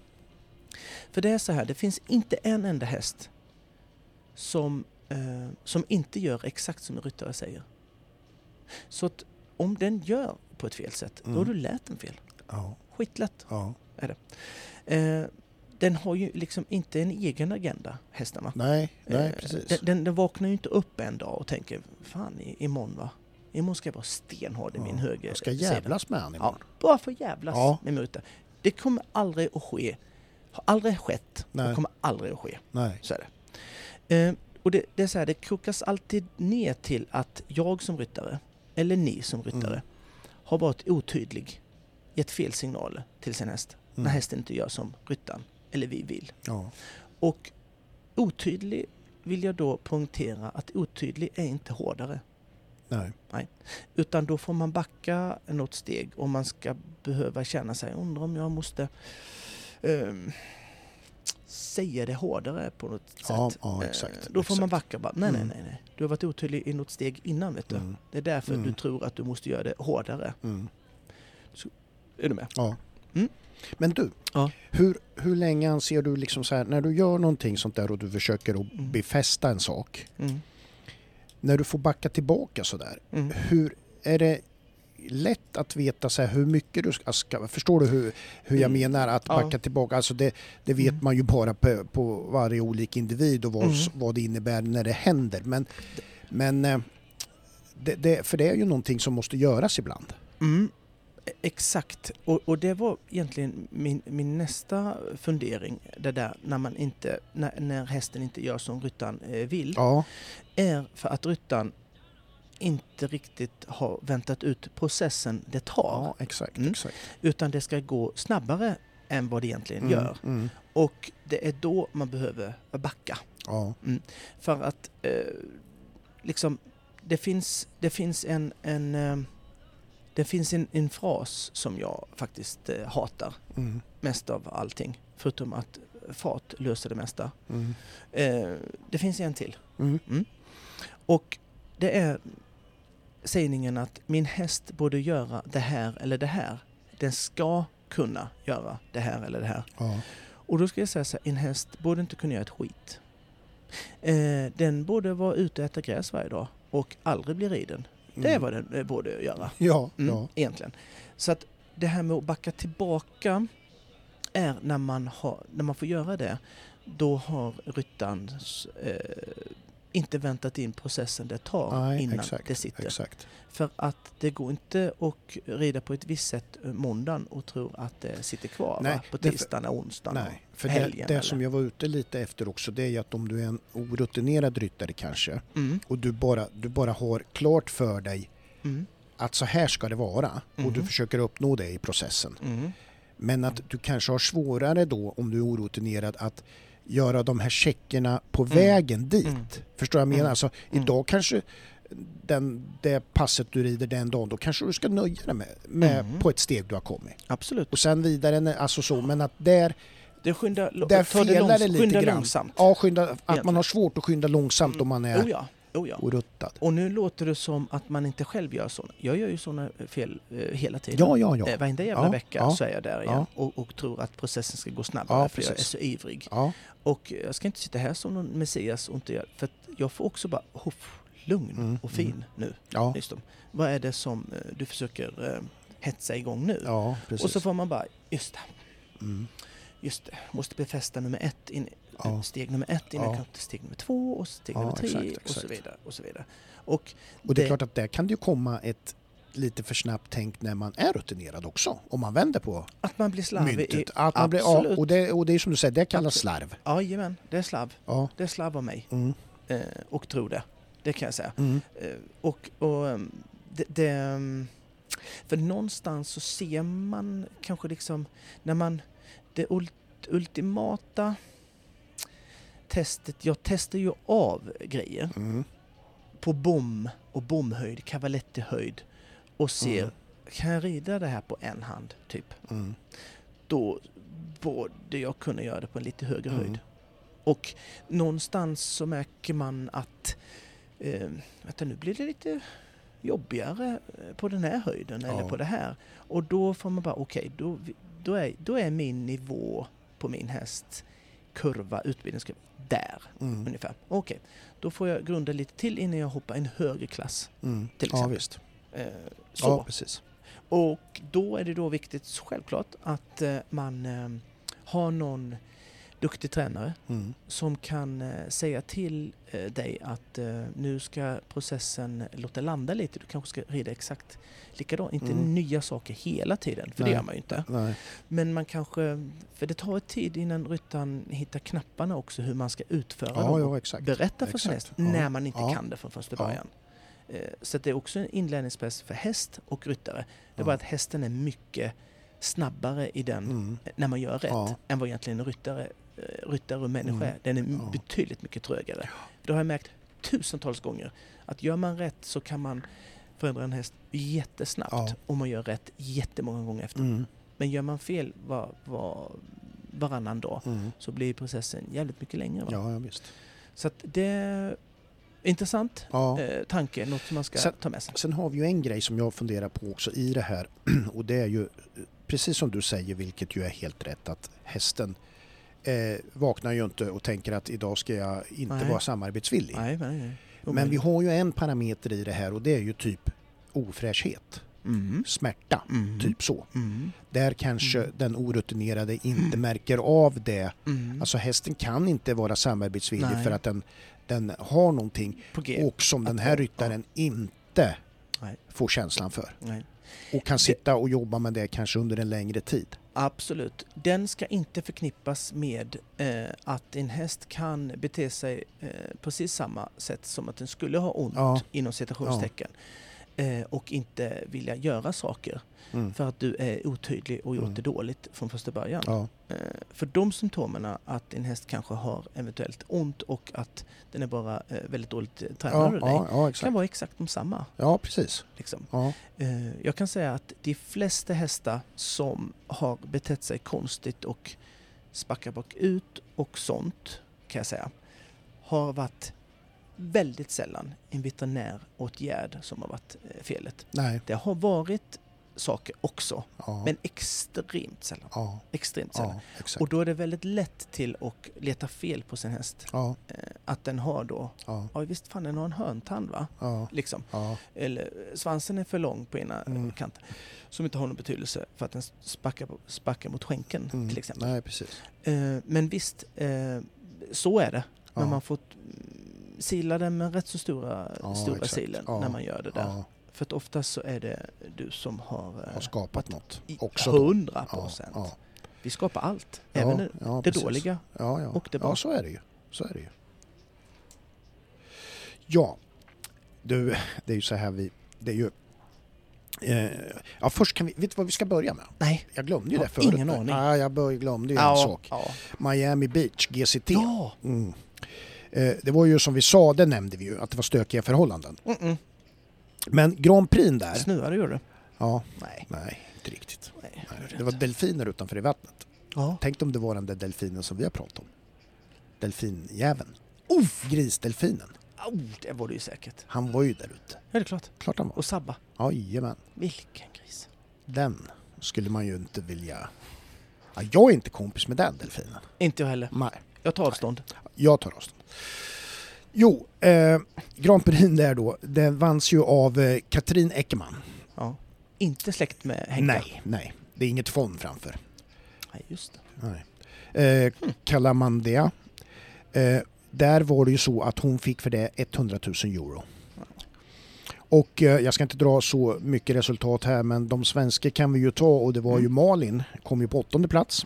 För det är så här, det finns inte en enda häst som, eh, som inte gör exakt som en ryttare säger. Så att om den gör på ett fel sätt, då har
Mm.
du lärt den fel.
Ja.
Skitlätt.
Ja.
Eh, den har ju liksom inte en egen agenda, hästarna.
Nej, nej,
Eh,
precis.
Den, den, den vaknar ju inte upp en dag och tänker, fan i, imorgon va? Imorgon ska jag vara stenhård i
Ja,
min höger
Jag ska
sida."
jävlas med honom
Ja, bara för att jävlas
Ja.
med muta. Det kommer aldrig att ske. Har aldrig skett
Nej.
och kommer aldrig att ske.
Nej.
Så är det. Eh, och det, det är så här, det kokas alltid ner till att jag som ryttare, eller ni som ryttare,
Mm.
har varit otydlig, gett fel signaler till sin häst. När
Mm.
hästen inte gör som ryttaren, eller vi vill.
Ja.
Och otydlig vill jag då poängtera att otydlig är inte hårdare.
Nej.
Utan då får man backa något steg om man ska behöva känna sig, undrar om jag måste ehm, säga det hårdare på något sätt.
Ja, ja,
Eh,
exakt.
Då får man
exakt.
backa bara, nej, nej,
Mm.
nej, nej. Du har varit otydlig i något steg innan vet du.
Mm.
Det är därför
Mm.
du tror att du måste göra det hårdare.
Mm.
Är du med?
Ja.
Mm.
Men du,
Ja.
hur, hur länge anser du liksom så här, när du gör någonting sånt där och du försöker att
Mm.
befästa en sak,
Mm.
när du får backa tillbaka så där,
Mm.
hur är det lätt att veta så här hur mycket du ska, ska förstår du hur, hur jag
Mm.
menar att
Ja.
backa tillbaka, alltså det, det vet
Mm.
man ju bara på, på varje olik individ och vad,
Mm.
vad det innebär när det händer, men, men eh, det, det, för det är ju någonting som måste göras ibland.
Mm. e- Exakt, och, och det var egentligen min, min nästa fundering, det där när, man inte, när, när hästen inte gör som ryttaren eh, vill.
Ja,
är för att ryttaren inte riktigt har väntat ut processen det tar.
ja exakt.
Mm.
exakt.
Utan det ska gå snabbare än vad det egentligen
Mm,
gör.
Mm.
Och det är då man behöver backa.
Ja,
För att eh, liksom, det finns, det finns en, en eh, det finns en, en fras som jag faktiskt eh, hatar
mm.
mest av allting. Förutom att fart löser det mesta.
Mm.
Eh, det finns en till.
Mm.
Och det är sägningen att min häst borde göra det här eller det här. Den ska kunna göra det här eller det här.
Ja.
Och då ska jag säga så här, en häst borde inte kunna göra ett skit. Eh, den borde vara ute och äta gräs varje dag och aldrig bli riden. Det är vad den eh, borde göra
Ja,
mm,
Mm. ja.
egentligen. Så att det här med att backa tillbaka är när man, har, när man får göra det, då har ryttarens eh, inte väntat in processen det tar
Nej,
innan
exakt,
det sitter.
Exakt.
För att det går inte att rida på ett visst sätt eh, måndagen och tro att det sitter kvar
Nej,
va? på
det-
tisdagen och onsdagen.
Nej, för
helgen,
det,
eller?
det som jag var ute lite efter också det är ju att om du är en orutinerad ryttare kanske
Mm,
och du bara, du bara har klart för dig
mm,
att så här ska det vara och du
Mhm.
försöker uppnå det i processen.
mm.
Men att du kanske har svårare då om du är orutinerad att göra de här checkerna på
Mm.
vägen dit.
Mm.
Förstår jag menar?
Mm.
Alltså,
Mm.
Idag kanske den, det passet du rider den dagen, då kanske du ska nöja dig med, med
Mm.
på ett steg du har kommit.
Absolut.
Och sen vidare, när- alltså så, men att där,
Det skyndar, lo-
där
ta det,
felar
långs-
det lite
skynda
grann.
långsamt.
ja, skynda, att man
Egentligen.
har svårt att skynda långsamt om man är
Oh ja, oh ja.
oruttad.
Och nu låter det som att man inte själv gör sådana. Jag gör ju sådana fel eh, hela tiden.
Ja, ja, ja.
Eh, varenda jävla
Ja,
vecka
ja,
så är jag där igen
ja.
och, och tror att processen ska gå snabbare
Ja,
för jag är
precis.
så ivrig.
ja.
Och jag ska inte sitta här som någon messias och inte göra, för att jag får också bara hoff, lugn
Mm,
och fin
mm.
nu.
ja.
Liksom. Vad är det som eh, du försöker eh, hetsa igång nu?
ja precis.
och så får man bara, just det,
mm.
just det, måste befästa nummer ett, in,
Ja.
steg nummer ett innan
Ja.
jag kan till steg nummer två och steg
Ja,
nummer tre
exakt,
och så
exakt.
vidare. Och så vidare. Och
Och det är klart att där kan det ju komma ett lite för snabbt tänk när man är rutinerad också. Om man vänder på
att man blir slarvig. i-
myntet. Att man blir, ja,
absolut.
och, det, och det är som du säger, det kallas
Absolut.
slarv.
Jajamän, det är slarv.
Ja.
Det är slarv av mig
Mm.
eh, och tro det. Det kan jag säga.
Mm.
Eh, och och ehm, det, det, ehm, för någonstans så ser man kanske liksom när man det ult, ultimata testet. Jag testar ju av grejer
Mm.
på bom och bomhöjd, cavalettihöjd och ser
Mm.
kan jag rida det här på en hand typ.
Mm.
Då borde jag kunna göra det på en lite högre
Mm.
höjd. Och någonstans så märker man att eh, vänta, nu blir det lite jobbigare eh, på den här höjden eller
Ja.
på det här. Och då får man bara, okej, då, då, är, då är min nivå på min häst kurva, utbildningskurva, där
Mm.
ungefär. Okej, då får jag grunda lite till innan jag hoppar en högre klass.
Mm.
Till
Ja,
exempel.
visst.
Eh, så.
Ja, precis.
Och då är det då viktigt, självklart, att eh, man eh, har någon duktig tränare
Mm.
som kan eh, säga till eh, dig att eh, nu ska processen låta landa lite. Du kanske ska rida exakt likadant, inte
Mm.
nya saker hela tiden, för
Nej.
det gör man ju inte.
Nej.
Men man kanske, för det tar ett tid innan ryttaren hittar knapparna också, hur man ska utföra
Ja,
dem
ja, exakt.
berätta för sin häst
Exakt. Ja.
när man inte
Ja.
kan det från första
Ja.
början. Eh, Så att det är också en inlärningsprocess för häst och ryttare. Det är
Ja.
bara att hästen är mycket snabbare i den
Mm.
eh, när man gör rätt
Ja.
än vad egentligen en ryttare, eh, ryttare och människa
Mm.
är. Den är m-
Ja.
betydligt mycket trögare. Det har jag märkt tusentals gånger. Att gör man rätt så kan man förändra en häst jättesnabbt
Ja.
och man gör rätt jättemånga gånger efter.
Mm.
Men gör man fel var, var, varannan dag
Mm.
så blir processen jävligt mycket längre. Va?
Ja, ja, visst.
Så att det är intressant
Ja.
eh, tanke, något som man ska
Sen-
ta med sig.
Sen har vi ju en grej som jag funderar på också i det här och det är ju eh, precis som du säger, vilket ju är helt rätt, att hästen eh, vaknar ju inte och tänker att idag ska jag inte
Nej.
vara samarbetsvillig.
Nej, nej, nej.
Men vi har ju en parameter i det här och det är ju typ ofräschhet,
Mm.
smärta,
Mm.
typ så.
Mm.
Där kanske
Mm.
den orutinerade inte
Mm.
märker av det.
Mm.
Alltså hästen kan inte vara samarbetsvillig
Nej.
för att den, den har någonting
på G.
och som den här ryttaren inte
Nej.
får känslan för.
Nej.
Och kan sitta och jobba med det kanske under en längre tid.
Absolut. Den ska inte förknippas med eh, att en häst kan bete sig eh, precis samma sätt som att den skulle ha ont,
Ja.
inom citationstecken. Eh, och inte vilja göra saker
Mm.
för att du är otydlig och gjort
Mm.
det dåligt från första början.
Ja.
Eh, För de symptomerna att en häst kanske har eventuellt ont och att den är bara eh, väldigt dåligt eh, tränad
Ja,
av dig
ja, ja,
kan
exakt.
vara exakt de samma.
Ja, precis.
Liksom.
Ja.
Eh, Jag kan säga att de flesta hästar som har betett sig konstigt och spackat bakut och sånt kan jag säga har varit väldigt sällan en veterinäråtgärd som har varit eh, felet.
Nej.
Det har varit saker också,
Ja.
men extremt sällan.
ja.
Extremt sällan.
ja. Exakt.
Och då är det väldigt lätt till att leta fel på sin häst.
Ja.
Eh, Att den har då,
Ja.
ja visst fan den har en hörntand va?
Ja.
Liksom.
Ja.
Eller eh, svansen är för lång på ena eh,
Mm.
kanten. Som inte har någon betydelse för att den spackar, på- spackar mot skänken
Mm.
till exempel.
Nej, precis.
Eh, Men visst, eh, så är det.
Ja.
Men man får sila den med rätt så stora,
Ja,
stora
exakt.
silen
Ja,
när man gör det där.
Ja,
För att oftast så är det du som har,
har
eh,
skapat något
i-
också. då.
100
Ja,
procent.
ja,
Vi skapar allt,
ja,
även det,
ja,
det
precis.
dåliga.
Ja, ja.
och det bra.
ja så är det ju. Så är det ju. Ja, du, det är ju så här vi... Det är ju... Eh, ja, först kan vi... Vet du vad vi ska börja med?
Nej,
Jag glömde ju
Jag
det
har
förut.
ingen aning.
Ja, jag bör, glömde ju en
ja,
sak.
ja.
Miami Beach, GCT.
ja.
Mm. Eh, det var ju som vi sa, det nämnde vi ju, att det var stökiga förhållanden.
Mm-mm.
Men Grand Prix där...
Snöade gjorde det.
Ja,
Nej.
nej, inte riktigt.
Nej,
Nej,
gjorde
det var
inte.
delfiner utanför i vattnet.
Ja.
Tänk om det var den där delfinen som vi har pratat om. Delfinjäveln. Uff! Grisdelfinen.
Oh, det var det ju säkert.
Han var ju där ute.
Ja, det är klart.
Klart han var.
Och Sabba.
Jajamän.
Vilken gris.
Den skulle man ju inte vilja... Ja, jag är inte kompis med den delfinen.
Inte jag heller.
Nej,
Jag tar avstånd.
jag tar avstånd. Jo, eh, Grand Prix där då, den vanns ju av eh, Katrin Eckermann.
Ja. Inte släkt med Henka.
Nej, nej. Det är inget fond framför.
Nej, just det.
Nej. Eh, Kalamandia. Eh, där var det ju så att hon fick för det 100 000 euro. Och eh, jag ska inte dra så mycket resultat här men de svenska kan vi ju ta och det var ju
Mm.
Malin, kom ju på åttonde plats,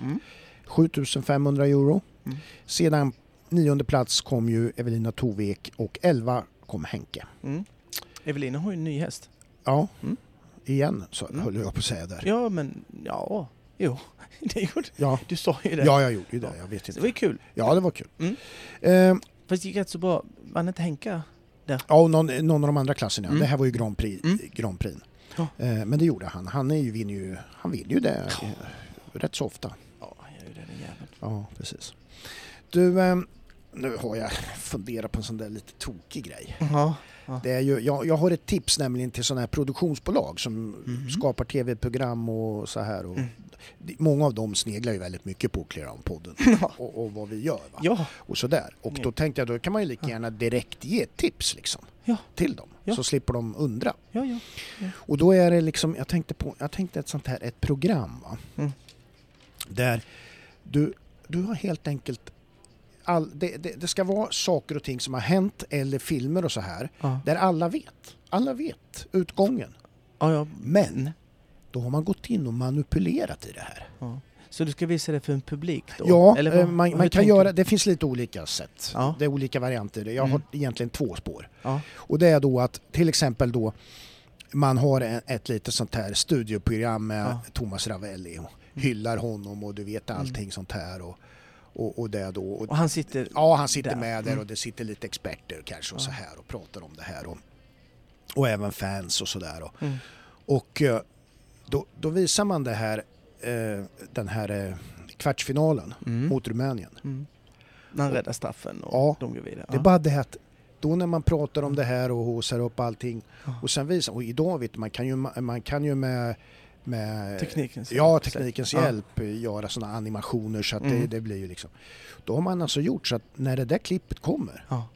7 500 euro.
Mm.
Sedan nionde plats kom ju Evelina Tovek och 11 kom Henke.
Mm. Evelina har ju en ny häst.
Ja,
Mm.
igen så
Mm.
höll jag på att säga där.
Ja, men ja. Jo, det gjorde
Ja,
du. sa ju det.
ja jag gjorde ju det, jag
Så
vet
Det
inte.
var ju kul.
Ja, det var kul.
Mm.
Eh,
Fast det gick rätt så bra. Vann inte Henka?
Ja, och någon, någon av de andra klasserna.
Mm.
Det här var ju Grand Prix.
Mm.
Grand Prix.
Ja.
Eh, men det gjorde han. Han, är ju, vinner ju, han vinner ju det
Ja.
eh, rätt så ofta.
Ja, han gör ju det den jäveln.
Ja, precis. Du, eh, nu har jag funderat på en sån där lite tokig grej.
Ja.
Det är ju, jag, jag har ett tips nämligen till sådana här produktionsbolag som
Mhm.
skapar tv-program och så här. Och,
Mm.
det- Många av dem sneglar ju väldigt mycket på Clearout-podden
Ja.
och, och vad vi gör. Va?
Ja,
och sådär. Och då
Ja.
tänkte jag då kan man ju lika gärna direkt ge tips liksom
Ja.
till dem
Ja.
så slipper de undra.
ja, ja.
Och då är det liksom, jag tänkte på, jag tänkte ett sånt här, ett program va?
Mm.
Där du, du har helt enkelt all, det, det, det ska vara saker och ting som har hänt eller filmer och så här
Ja,
där alla vet, alla vet utgången.
ja. ja.
Men då har man gått in och manipulerat i det här.
ja. Så du ska visa det för en publik då?
Ja,
Eller
eh,
vad-
man,
hur
man kan
tänker
göra,
du?
det finns lite olika sätt.
Ja.
Det är olika varianter. Jag har
Mm.
egentligen två spår.
Ja.
Och det är då att till exempel då man har en- ett litet sånt här studioprogram med
Ja. Mm.
Thomas Ravelli och hyllar honom och du vet allting sånt här och, och, och det då. Och,
Och han sitter...
ja, han sitter
där.
med där
Mm.
och det sitter lite experter kanske och
Ja.
så här och pratar om det här och, och även fans och sådär. Och,
Mm.
och eh, då, då visar man det här, eh, den här eh, kvartsfinalen
Mm.
mot Rumänien.
Mm. När han räddar straffen och
Ja.
de går vidare.
Det är bara det att då när man pratar om det här och haussar upp allting
Ja.
och sen visar, och idag vet du, man kan ju, man kan ju med, med
Teknikens
ja,
hjälp.
teknikens
Ja.
hjälp göra sådana animationer så att det,
Mm.
det blir ju liksom. Då har man alltså gjort så att när det där klippet kommer,
Ja.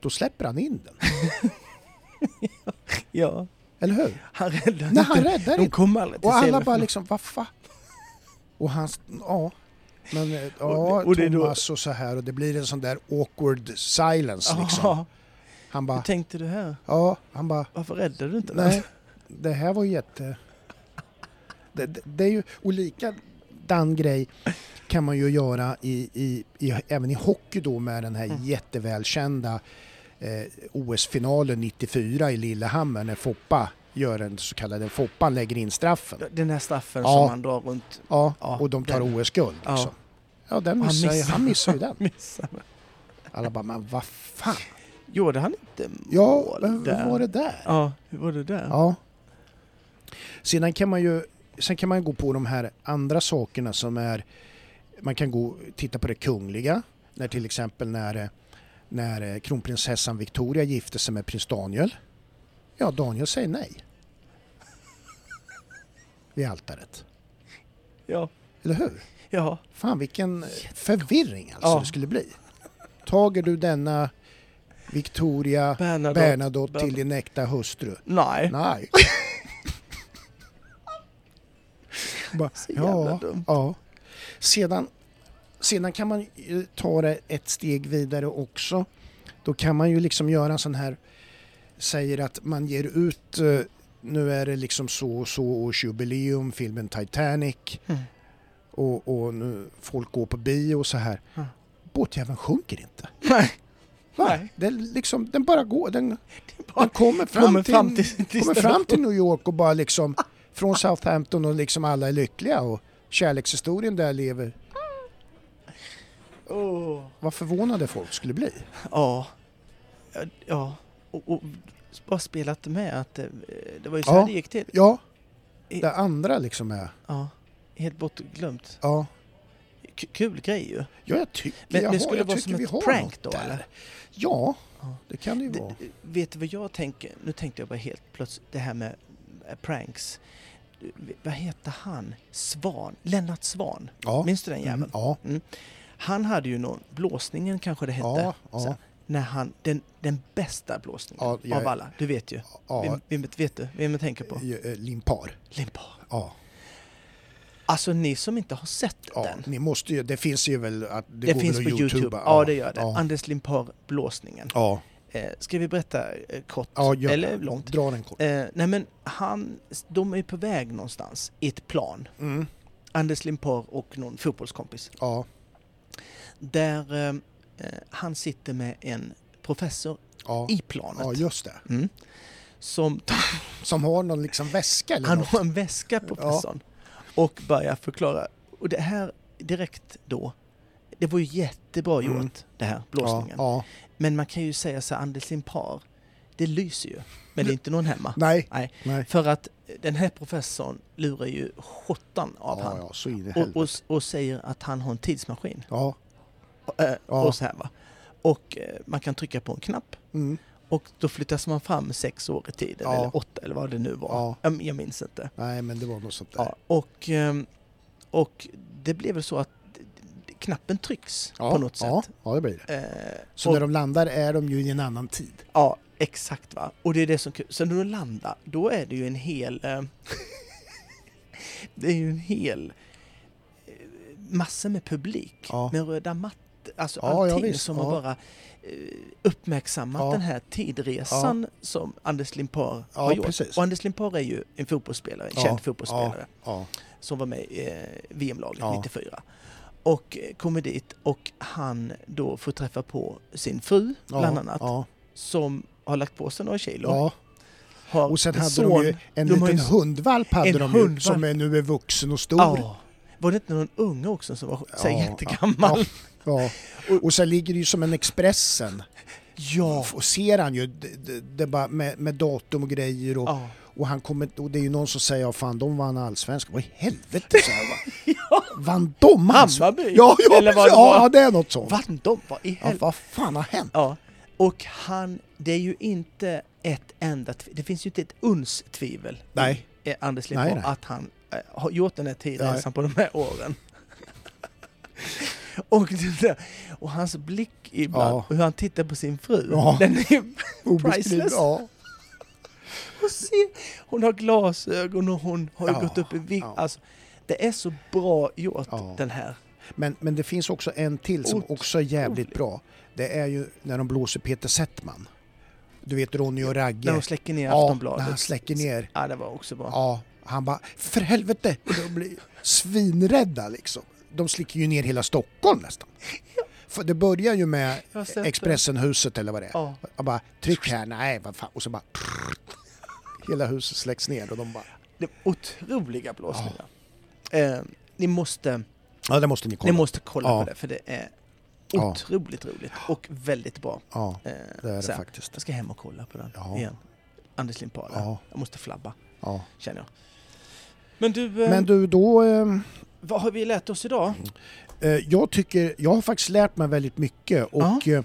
då släpper han in den.
ja.
Eller hur?
Han räddar
Nej, han
inte.
räddar
De
inte.
kommer aldrig till
Och alla
semifinal.
bara liksom, vad fan? Och han, ja. Men eh, ja,
Och- och det är då-
Thomas och så här och det blir en sån där awkward silence liksom.
Ja.
Han
Hur
bara,
tänkte du här?
ja, han bara,
Varför räddade du inte
Nej, det här var ju jätte... Det, det, det är ju olika den grej kan man ju göra i, i, i, även i hockey då med den här
Mm.
jättevälkända eh, OS-finalen 94 i Lillehammer när Foppa gör den så kallade Foppan lägger in straffen.
den? Den här straffen
Ja.
som han drar runt.
Ja,
Ja,
och de tar
den.
OS-guld
Ja.
liksom. Ja, den
Han
missar, han, missar.
missar.
han missar ju den.
Missar.
Alla bara, men vad fan?
Gjorde han inte mål
Ja, men
där?
vad var det där?
Ja, hur var det där?
Ja. Sedan kan man ju sen kan man gå på de här andra sakerna som är man kan gå titta på det kungliga när till exempel när eh, när eh, kronprinsessan Victoria gifte sig med prins Daniel. Ja, Daniel säger nej. Vid altaret.
Ja.
Eller hur?
ja.
Fan vilken eh, förvirring alltså
Ja.
det skulle bli. Tager du denna Victoria
Bernadotte.
Bernadotte
Bern-
till din äkta hustru?
Nej.
Nej. Bara,
Så jävla
ja,
dumt.
ja. Sedan, sedan kan man ju ta det ett steg vidare också Då kan man ju liksom göra en sån här, säger att man ger ut, eh, nu är det liksom så och så års jubileum, filmen Titanic
Mm.
och, och nu folk går på bio och så här.
Ja.
Båtjäveln sjunker inte.
Mm. Nej,
Va?
Nej.
Den, liksom, den bara går, den,
det
den
bara
kommer fram,
kommer
till,
fram till, till
kommer fram till New York och bara liksom från Southampton och liksom alla är lyckliga och kärlekshistorien där lever.
Åh.
Vad förvånade folk skulle bli.
Ja. Ja, Ja. Och, och bara spelat med att det, det var ju så
Ja.
här det gick till.
Ja, det andra liksom är,
Ja. Helt bortglömt.
ja.
K- kul grej ju.
Ja, jag tycker,
Men
jaha,
det skulle
jag
vara
tycker
som
vi har
ett prank
något
då
där.
eller?
Ja,
Ja.
det kan det ju
D-
vara.
d- vet du vad jag tänker? Nu tänkte jag bara helt plötsligt det här med eh, pranks. Du, v- Vad heter han? Svan? Lennart Svan?
Ja,
Minns du den jäveln?
mm, ja,
Han hade ju någon, blåsningen kanske det hette.
ja,
Så
ja,
här, när han, den, den bästa blåsningen
Ja, jag-
av alla. Du vet ju.
ja,
Vem, vem, vet du vem jag tänker på?
eh, eh, limpar.
Limpar.
Ja,
Alltså ni som inte har sett
ja,
den.
ni måste ju, det finns ju väl att det,
Det
går
finns
väl
på
att
Youtube.
YouTubea.
Ja, det gör det.
Ja,
Anders Limpar, blåsningen.
ja,
Eh, ska vi berätta eh, kort?
ja gör
Eller
det.
långt?
Dra den kort.
Eh, nej men han, de är ju på väg någonstans i ett plan.
Mm,
Anders Limpar och någon fotbollskompis.
ja,
Där eh, eh, han sitter med en professor
ja,
i planet.
ja, just det.
Mm. Som
Som har någon liksom väska eller
Han
något.
har en väska på
Ja.
Persson och börjar förklara. Och det här direkt då, det var ju jättebra gjort
Mm.
det här,
Ja,
blåsningen.
ja.
Men man kan ju säga så här, Anders Limpar, det lyser ju. Men det är inte någon hemma.
Nej,
Nej.
nej.
För att den här professorn lurar ju sjutton av
Ja,
han.
ja, så in i
Och,
helvete.
och, och säger att han har en tidsmaskin.
Ja,
Och, eh,
Ja.
och så här va. Och eh, man kan trycka på en knapp.
mm,
Och då flyttas man fram sex år i tiden,
Ja.
eller åtta eller vad det nu var.
Ja.
Jag- Jag minns inte.
nej men det var något sånt där.
Ja, och, ehm, och det blev väl så att d- d- knappen trycks
Ja,
på något sätt.
ja, ja, det blir det.
Eh,
Så
och,
när de landar är de ju i en annan tid.
Ja, exakt va. Och det är det som kul. Sen när de landar, då är det ju en hel... Eh, det är ju en hel... eh, Massor med publik,
Ja.
med röda mattor. Alltså
Ja, ja,
allting
visst,
som
ja.
har bara eh, uppmärksammat
Ja.
den här tidresan som Anders Limpar
Ja,
har gjort.
precis.
Och Anders Limpar är ju en fotbollsspelare, en
Ja,
känd fotbollsspelare.
Ja,
som var med i eh, VM-laget
Ja.
94. Och eh, kommer dit och han då får träffa på sin fru
ja,
bland annat
Ja,
som har lagt på sig några kilo.
ja.
Har
Och sen
en
hade
son-
de ju en
de har
liten
ju-
hundvalp hade
en
de ju,
hundvalp.
som är nu är vuxen och stor.
Ja. Var det inte någon unge också som var så här
Ja,
jättegammal? Ja.
Ja. Och, och sen ligger det ju som en Expressen.
Ja.
Och ser han ju det, det, det bara med, med datum och grejer och,
ja.
och, han kommer, och det är ju någon som säger ja fan de vann allsvenskan. Vad i helvete sa jag va? Vann de allsvenskan?
Hammarby!
Ja, ja,
Eller vad
precis.
det var.
ja, det är något sånt.
Vann de? Vad i
Ja,
helvete?
vad fan har hänt?
Ja. Och han, det är ju inte ett enda, tv- det finns ju inte ett uns tvivel
Nej.
eh, Anders
Nej,
Lindholm
nej.
att han eh, har gjort den här
Ja.
tidresan på de här åren. och, det där, och hans blick ibland,
Ja.
och hur han tittar på sin fru,
Ja.
den är ju
Obeskrivligt.
priceless.
Ja.
Och se, hon har glasögon och hon har ju
Ja,
gått upp i vikt.
ja.
Alltså, det är så bra gjort,
Ja.
den här.
Men, men det finns också en till som
Ot-
också är jävligt
otroligt.
bra. Det är ju när de blåser Peter Settman. Du vet Ronny och Ragge.
När hon släcker ner
ja, när
Aftonbladet.
han släcker ner.
Ja, det var också bra.
Ja, han bara för helvete! Och de blir svinrädda liksom. De slicker ju ner hela Stockholm nästan. För det börjar ju med
Jag har sett det.
Expressenhuset eller vad det är.
Ja.
Och bara tryck här, nej vad fan. Och så bara hela huset släcks ner och de bara
Det är otroliga blåsningar. Eh, ni måste...
ja det måste ni kolla.
Ni måste kolla
Ja.
på det för det är
Ja.
otroligt roligt och väldigt bra.
Ja,
Eh,
det är det
så här,
faktiskt.
Jag ska hem och kolla på den
Ja.
igen. Anders Limpar. där.
Ja,
Jag måste flabba,
ja.
känner jag. Men du, eh,
Mm. Men du då, eh,
vad har vi lärt oss idag?
eh, jag tycker, jag har faktiskt lärt mig väldigt mycket och
Okej.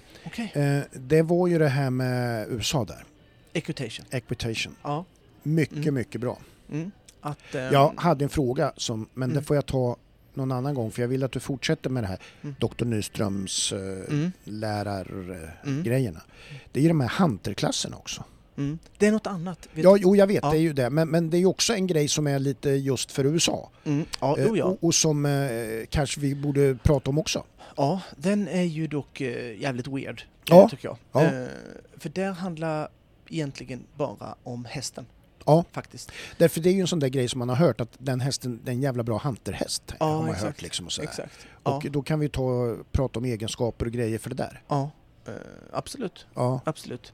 eh, det var ju det här med USA där,
Equitation.
equitation.
Ja.
Mycket,
Mm.
mycket bra.
Mm. Att, eh,
Jag hade en fråga, som, men
Mm.
det får jag ta någon annan gång för jag vill att du fortsätter med det här
Mm.
Dr. Nyströms eh,
mm,
lärargrejerna.
mm.
Mm. Det är ju de här hanterklasserna också.
Mm. Det är något annat. vet
Ja, jo jag vet,
Ja.
det är ju det. Men, men det är ju också en grej som är lite just för USA.
du. Mm. Ja,
Eh,
jo, ja.
och, och som eh, kanske vi borde prata om också.
ja, den är ju dock eh, jävligt weird,
Ja,
eh, tycker jag.
ja.
Eh, för där handlar egentligen bara om hästen.
Ja.
Faktiskt.
Därför det är ju en sån där grej som man har hört att den hästen, den jävla bra hunterhäst.
Ja,
har man
exakt.
hört liksom och sådär.
Exakt. Ja,
Och då kan vi ta, prata om egenskaper och grejer för det där.
ja. Eh, absolut.
Ja,
Absolut.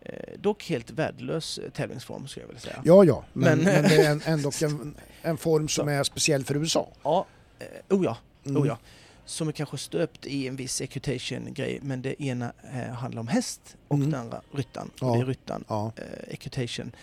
Eh, dock helt värdelös eh, tävlingsform skulle jag vilja säga.
ja, ja. Men,
Men-
men det är en, ändå en, en form som är speciell för USA.
Ja, eh, oh ja,
Mm.
oh ja. Som är kanske stöpt i en viss equitation-grej, men det ena eh, handlar om häst och
Mm.
det andra ryttan.
Ja.
Och det är ryttan,
Ja.
eh, equitation,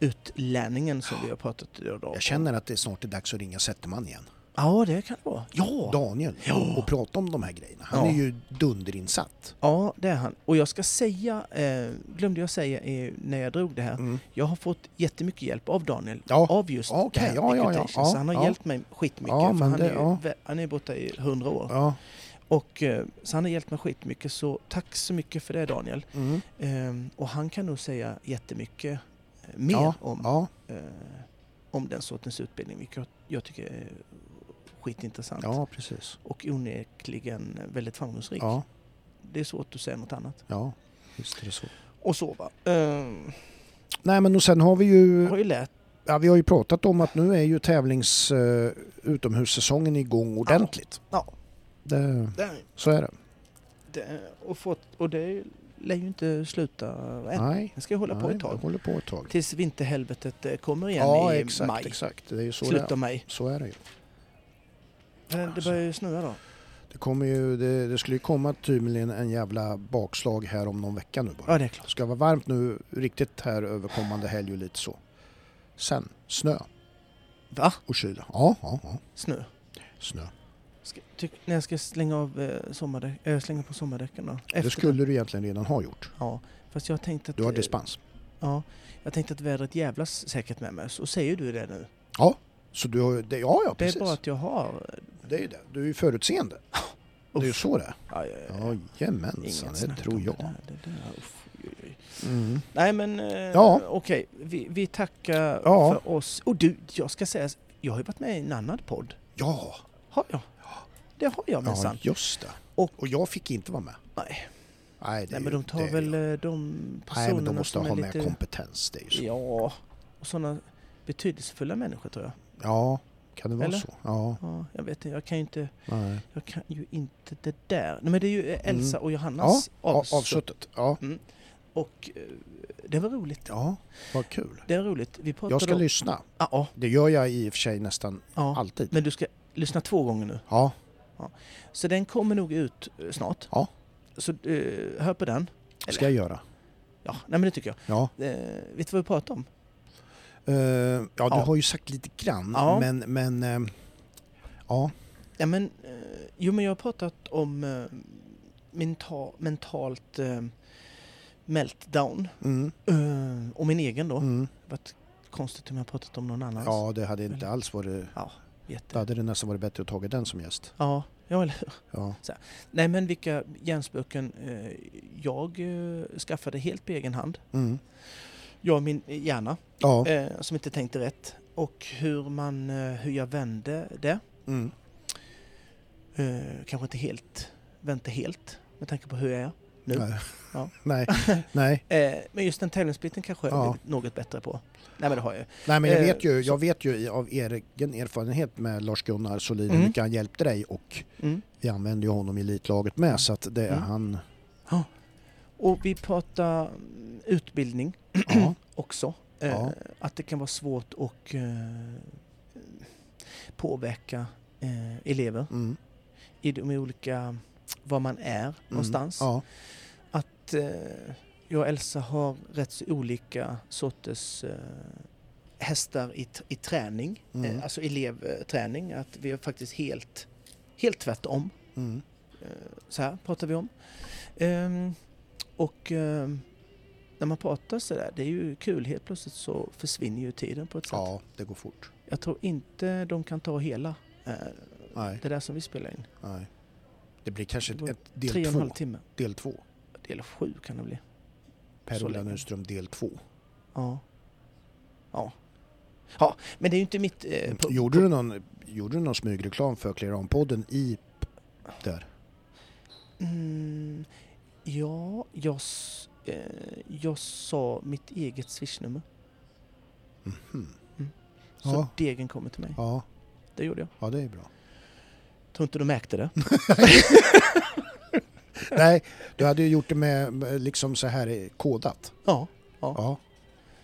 utlänningen som vi har pratat då och då. om.
Jag känner att det snart är dags att ringa Zetterman igen.
Ja, det kan det vara. Ja!
Daniel.
Ja.
Och prata om de här grejerna. Han
Ja.
är ju dunderinsatt.
ja, det är han. Och jag ska säga, eh, glömde jag säga eh, när jag drog det här,
Mm.
jag har fått jättemycket hjälp av Daniel.
Ja.
Av just
Ja, okej.
det här
Ja, ja, ja.
equitation.
Ja,
Så han har
ja.
hjälpt mig skitmycket.
Ja,
för
men
han,
det-
är,
ja.
vä- han är borta i hundra år.
Ja.
Och, eh, så han har hjälpt mig skitmycket, så tack så mycket för det Daniel.
Mm.
Ehm, Och han kan nog säga jättemycket eh, mer
ja.
om,
Ja.
eh, om den sortens utbildning, vilket jag, jag tycker är skitintressant.
ja, precis.
Och onekligen väldigt framgångsrik.
Ja,
Det är svårt att säga något annat.
ja. Visst är det så.
Och sova. Ehm,
Nej men och sen har vi ju,
Jag har ju lärt
ja, vi har ju pratat om att nu är ju tävlings eh, utomhussäsongen igång ordentligt.
Ja.
Det,
det,
så är det.
det, och, fått, och det lär ju inte sluta än.
Nej.
Det ska ju hålla på
nej,
ett
det
tag.
håller på ett tag.
Tills vinterhelvetet eh, kommer igen
Ja
i
exakt,
maj.
exakt. Det är ju så
Slutet
det
av
är. Alltså.
maj.
Så är det ju.
Men det börjar ju snöa då.
Det, kommer ju, det, det skulle ju komma tydligen en jävla bakslag här om någon vecka nu bara.
Ja, det är klart.
Det ska vara varmt nu riktigt här över kommande helg och lite så. Sen snö
Va?
och kyla. Ja, ja, ja.
Snö?
Snö.
Ska, tyck, när jag ska slänga, av, eh, sommardäck, eh, slänga på sommardäcken då? Efter
Det skulle du egentligen redan ha gjort.
Ja, fast jag tänkte att...
Du har
eh,
dispens.
Ja, jag tänkte att vädret jävlas säkert med mig. Så säger du det nu.
Så du har, det, ja, ja,
Det
precis.
är bara att jag har... eh,
Det är ju det. Du är ju förutseende. Det är ju
Uff.
så det är.
Aj, aj, aj. Inget
Jajamensan, det
snack
tror
om
jag.
Det där, det där. Uff, oj, oj.
Mm.
Nej men eh,
Ja.
okej, vi, vi tackar
Ja.
för oss. Och du, jag ska säga, jag har ju varit med i en annan podd.
Ja,
Har jag? Det har jag
ja,
minsann.
just det.
Och-
Och, jag fick inte vara med.
Nej.
Nej, det
Nej
är
men
ju-
de
det
tar
är
väl
ju-
eh, de personerna
Nej, men de måste
som är
ha med
lite...
kompetens. Det är ju så. Ja.
Ja, och sådana betydelsefulla människor tror jag.
kan det vara
Eller?
så? Ja,
Ja, jag vet inte, jag kan ju inte,
nej.
jag kan ju inte det där. Nej, men det är ju eh, Elsa och
Ja,
Johannas
Mm. ja,
avsnitt.
avsuttet. Ja.
Och eh, det var roligt.
ja, vad kul.
Det var roligt. Vi pratade
Jag ska
om-
lyssna.
Ja, ja,
Det gör jag i och för sig nästan
ja.
alltid.
Men du ska lyssna två gånger nu.
Ja,
Så den kommer nog ut eh, snart.
Ja.
Så eh, hör på den.
det ska jag göra.
Ja, nej men det tycker jag.
Ja,
Eh, vet du vad vi pratade om?
Eh, ja du
Ja.
har ju sagt lite grann,
Ja.
men... men ehm, ja,
Ja, men, eh, jo, men jag har pratat om eh, menta- mentalt eh, meltdown.
mm,
Eh, och min egen då.
mm.
Det var ett konstigt om jag pratat om någon annans.
ja det hade
Mm.
inte alls varit... Då
Jätte.
hade det nästan varit bättre att ta den som gäst.
Ja, ja, eller hur?
Ja,
Nej, men vilka hjärnspöken eh, jag eh, skaffade helt på egen hand.
mm.
Jag och min hjärna,
ja.
eh, som inte tänkte rätt. Och hur, man, eh, hur jag vände det.
Mm.
Eh, kanske inte helt, vände helt med tanke på hur jag är. Nu.
Nej.
Ja.
nej, nej,
Eh, men just den tävlingsbiten kanske jag har
Ja.
blivit något bättre på. Nej, men det har jag ju.
nej, men jag
Eh,
vet ju,
så-
jag vet ju i- av egen erfarenhet med Lars-Gunnar Solin hur
Mm.
mycket han hjälpte dig och
Mm.
vi använde ju honom i elitlaget med så att det är
Mm.
han...
Och vi pratar mm, utbildning
Ja, mm,
också. Eh,
Ja.
Att det kan vara svårt att eh, påverka eh, elever
mm,
i de olika, var man är någonstans.
Mm. Ja,
Att eh, jag och Elsa har rätt så olika sorters eh, hästar i, t- i träning,
Mm.
eh, alltså elevträning. Att vi är faktiskt helt, helt tvärtom.
mm,
Eh, så här pratar vi om. Ehm, och ehm, när man pratar så där, det är ju kul. Helt plötsligt så försvinner ju tiden på ett sätt.
ja, det går fort.
Jag tror inte de kan ta hela eh,
Nej,
det där som vi spelar in.
nej. Det blir kanske ett,
Det var
ett
Tre och
del
en halv
två.
timme.
Del två.
Del sju kan det bli. Så
Per-Ola
länge.
Lundström del 2.
Ja. Ja. Ja, men det är ju inte mitt... Eh, pu-
Mm. Gjorde du, någon, gjorde du någon smygreklam för Clear On-podden i där?
Mm, ja, jag, s- eh, jag sa mitt eget swishnummer.
Mhm.
Så
Ja.
degen kommer till mig.
Ja,
Det gjorde jag.
ja, det är bra.
Tror inte du märkte det.
Nej, du hade ju gjort det med med liksom så här eh, kodat.
Ja.
Ja.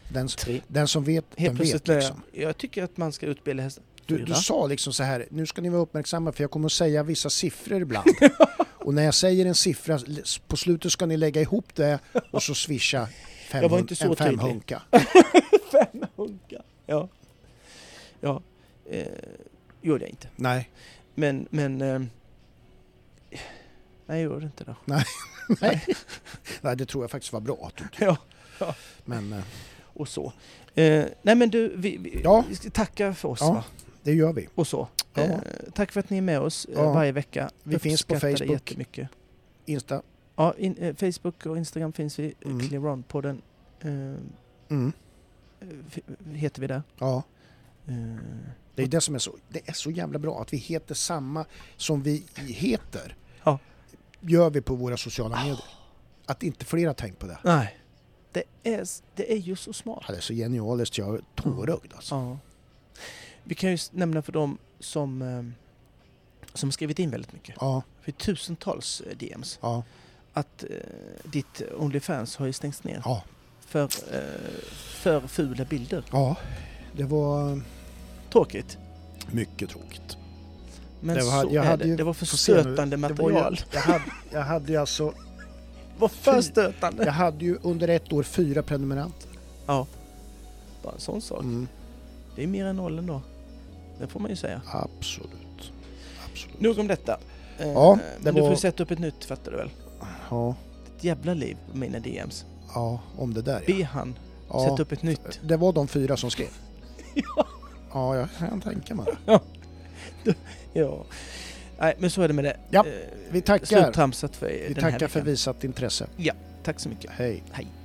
Den, s-
Tre.
den som vet,
Helt
den
plötsligt
vet
när
liksom.
jag, jag tycker att man ska utbilda hästar.
Du, du
Fyra.
sa liksom så här, nu ska ni vara uppmärksamma för jag kommer att säga vissa siffror ibland. och när jag säger en siffra, l- s- på slutet ska ni lägga ihop det och så swisha fem,
Jag var inte så
en
tydlig.
femhunka.
Fem hunkar. Ja. Ja. Eh, gjorde jag inte.
Nej,
Men, men... Eh, nej, jag gjorde inte det.
nej, det tror jag faktiskt var bra. att du-
Ja.
Men eh,
Och så. Eh, nej men du, vi, vi,
Ja.
vi ska tacka för oss
Ja.
va?
det gör vi.
Och så.
Ja.
Eh, tack för att ni är med oss eh,
Ja.
varje vecka.
Vi finns på
Uppskattar det
Facebook.
jättemycket.
Insta.
Ja, in, eh, Facebook och Instagram finns vi.
Mm.
Mm. Clearon-podden eh,
Mm.
f- heter vi där.
Ja.
Eh,
Det är det som är så, det är så jävla bra att vi heter samma som vi heter.
Ja. Ah.
Gör vi på våra sociala medier. Att inte fler har tänkt på det.
nej. Det är, s- det är ju så smart.
Ja, Det är så genialiskt, jag är
Mm.
tårögd alltså.
Ja. Vi kan ju s- nämna för dem som, eh, som skrivit in väldigt mycket.
Ja,
För tusentals eh, DMs.
ja,
Att eh, ditt Onlyfans har ju stängts ner.
ja.
för, eh, för fula bilder.
ja. Det var mm,
Tråkigt.
mycket tråkigt.
Men
Det var-
så
jag
är
hade
det.
ju-
Det var
Får se nu.
förstötande
Det var ju-
material.
Jag hade, jag hade ju alltså,
Det var
fy-
för stötande.
jag hade ju under ett år fyra prenumeranter.
Bara en sån sak.
Mm.
Det är mer än noll ändå. Det får man ju säga.
Absolut. Absolut.
Nog om detta. Eh,
Ja, det
men du
var-
får ju sätta upp ett nytt, fattar du väl?
Ja,
Ett jävla liv på mina DMs.
ja, om det där ja.
Be han
ja.
sätta upp ett nytt.
Det var de fyra som skrev. Ja, jag kan tänka mig det.
Ja. Nej, men så är det med det.
Ja,
Eh,
vi tackar.
Sluttramsat för
Vi
den här
tackar för
veckan.
visat intresse.
Tack så mycket.
Hej.
Hej.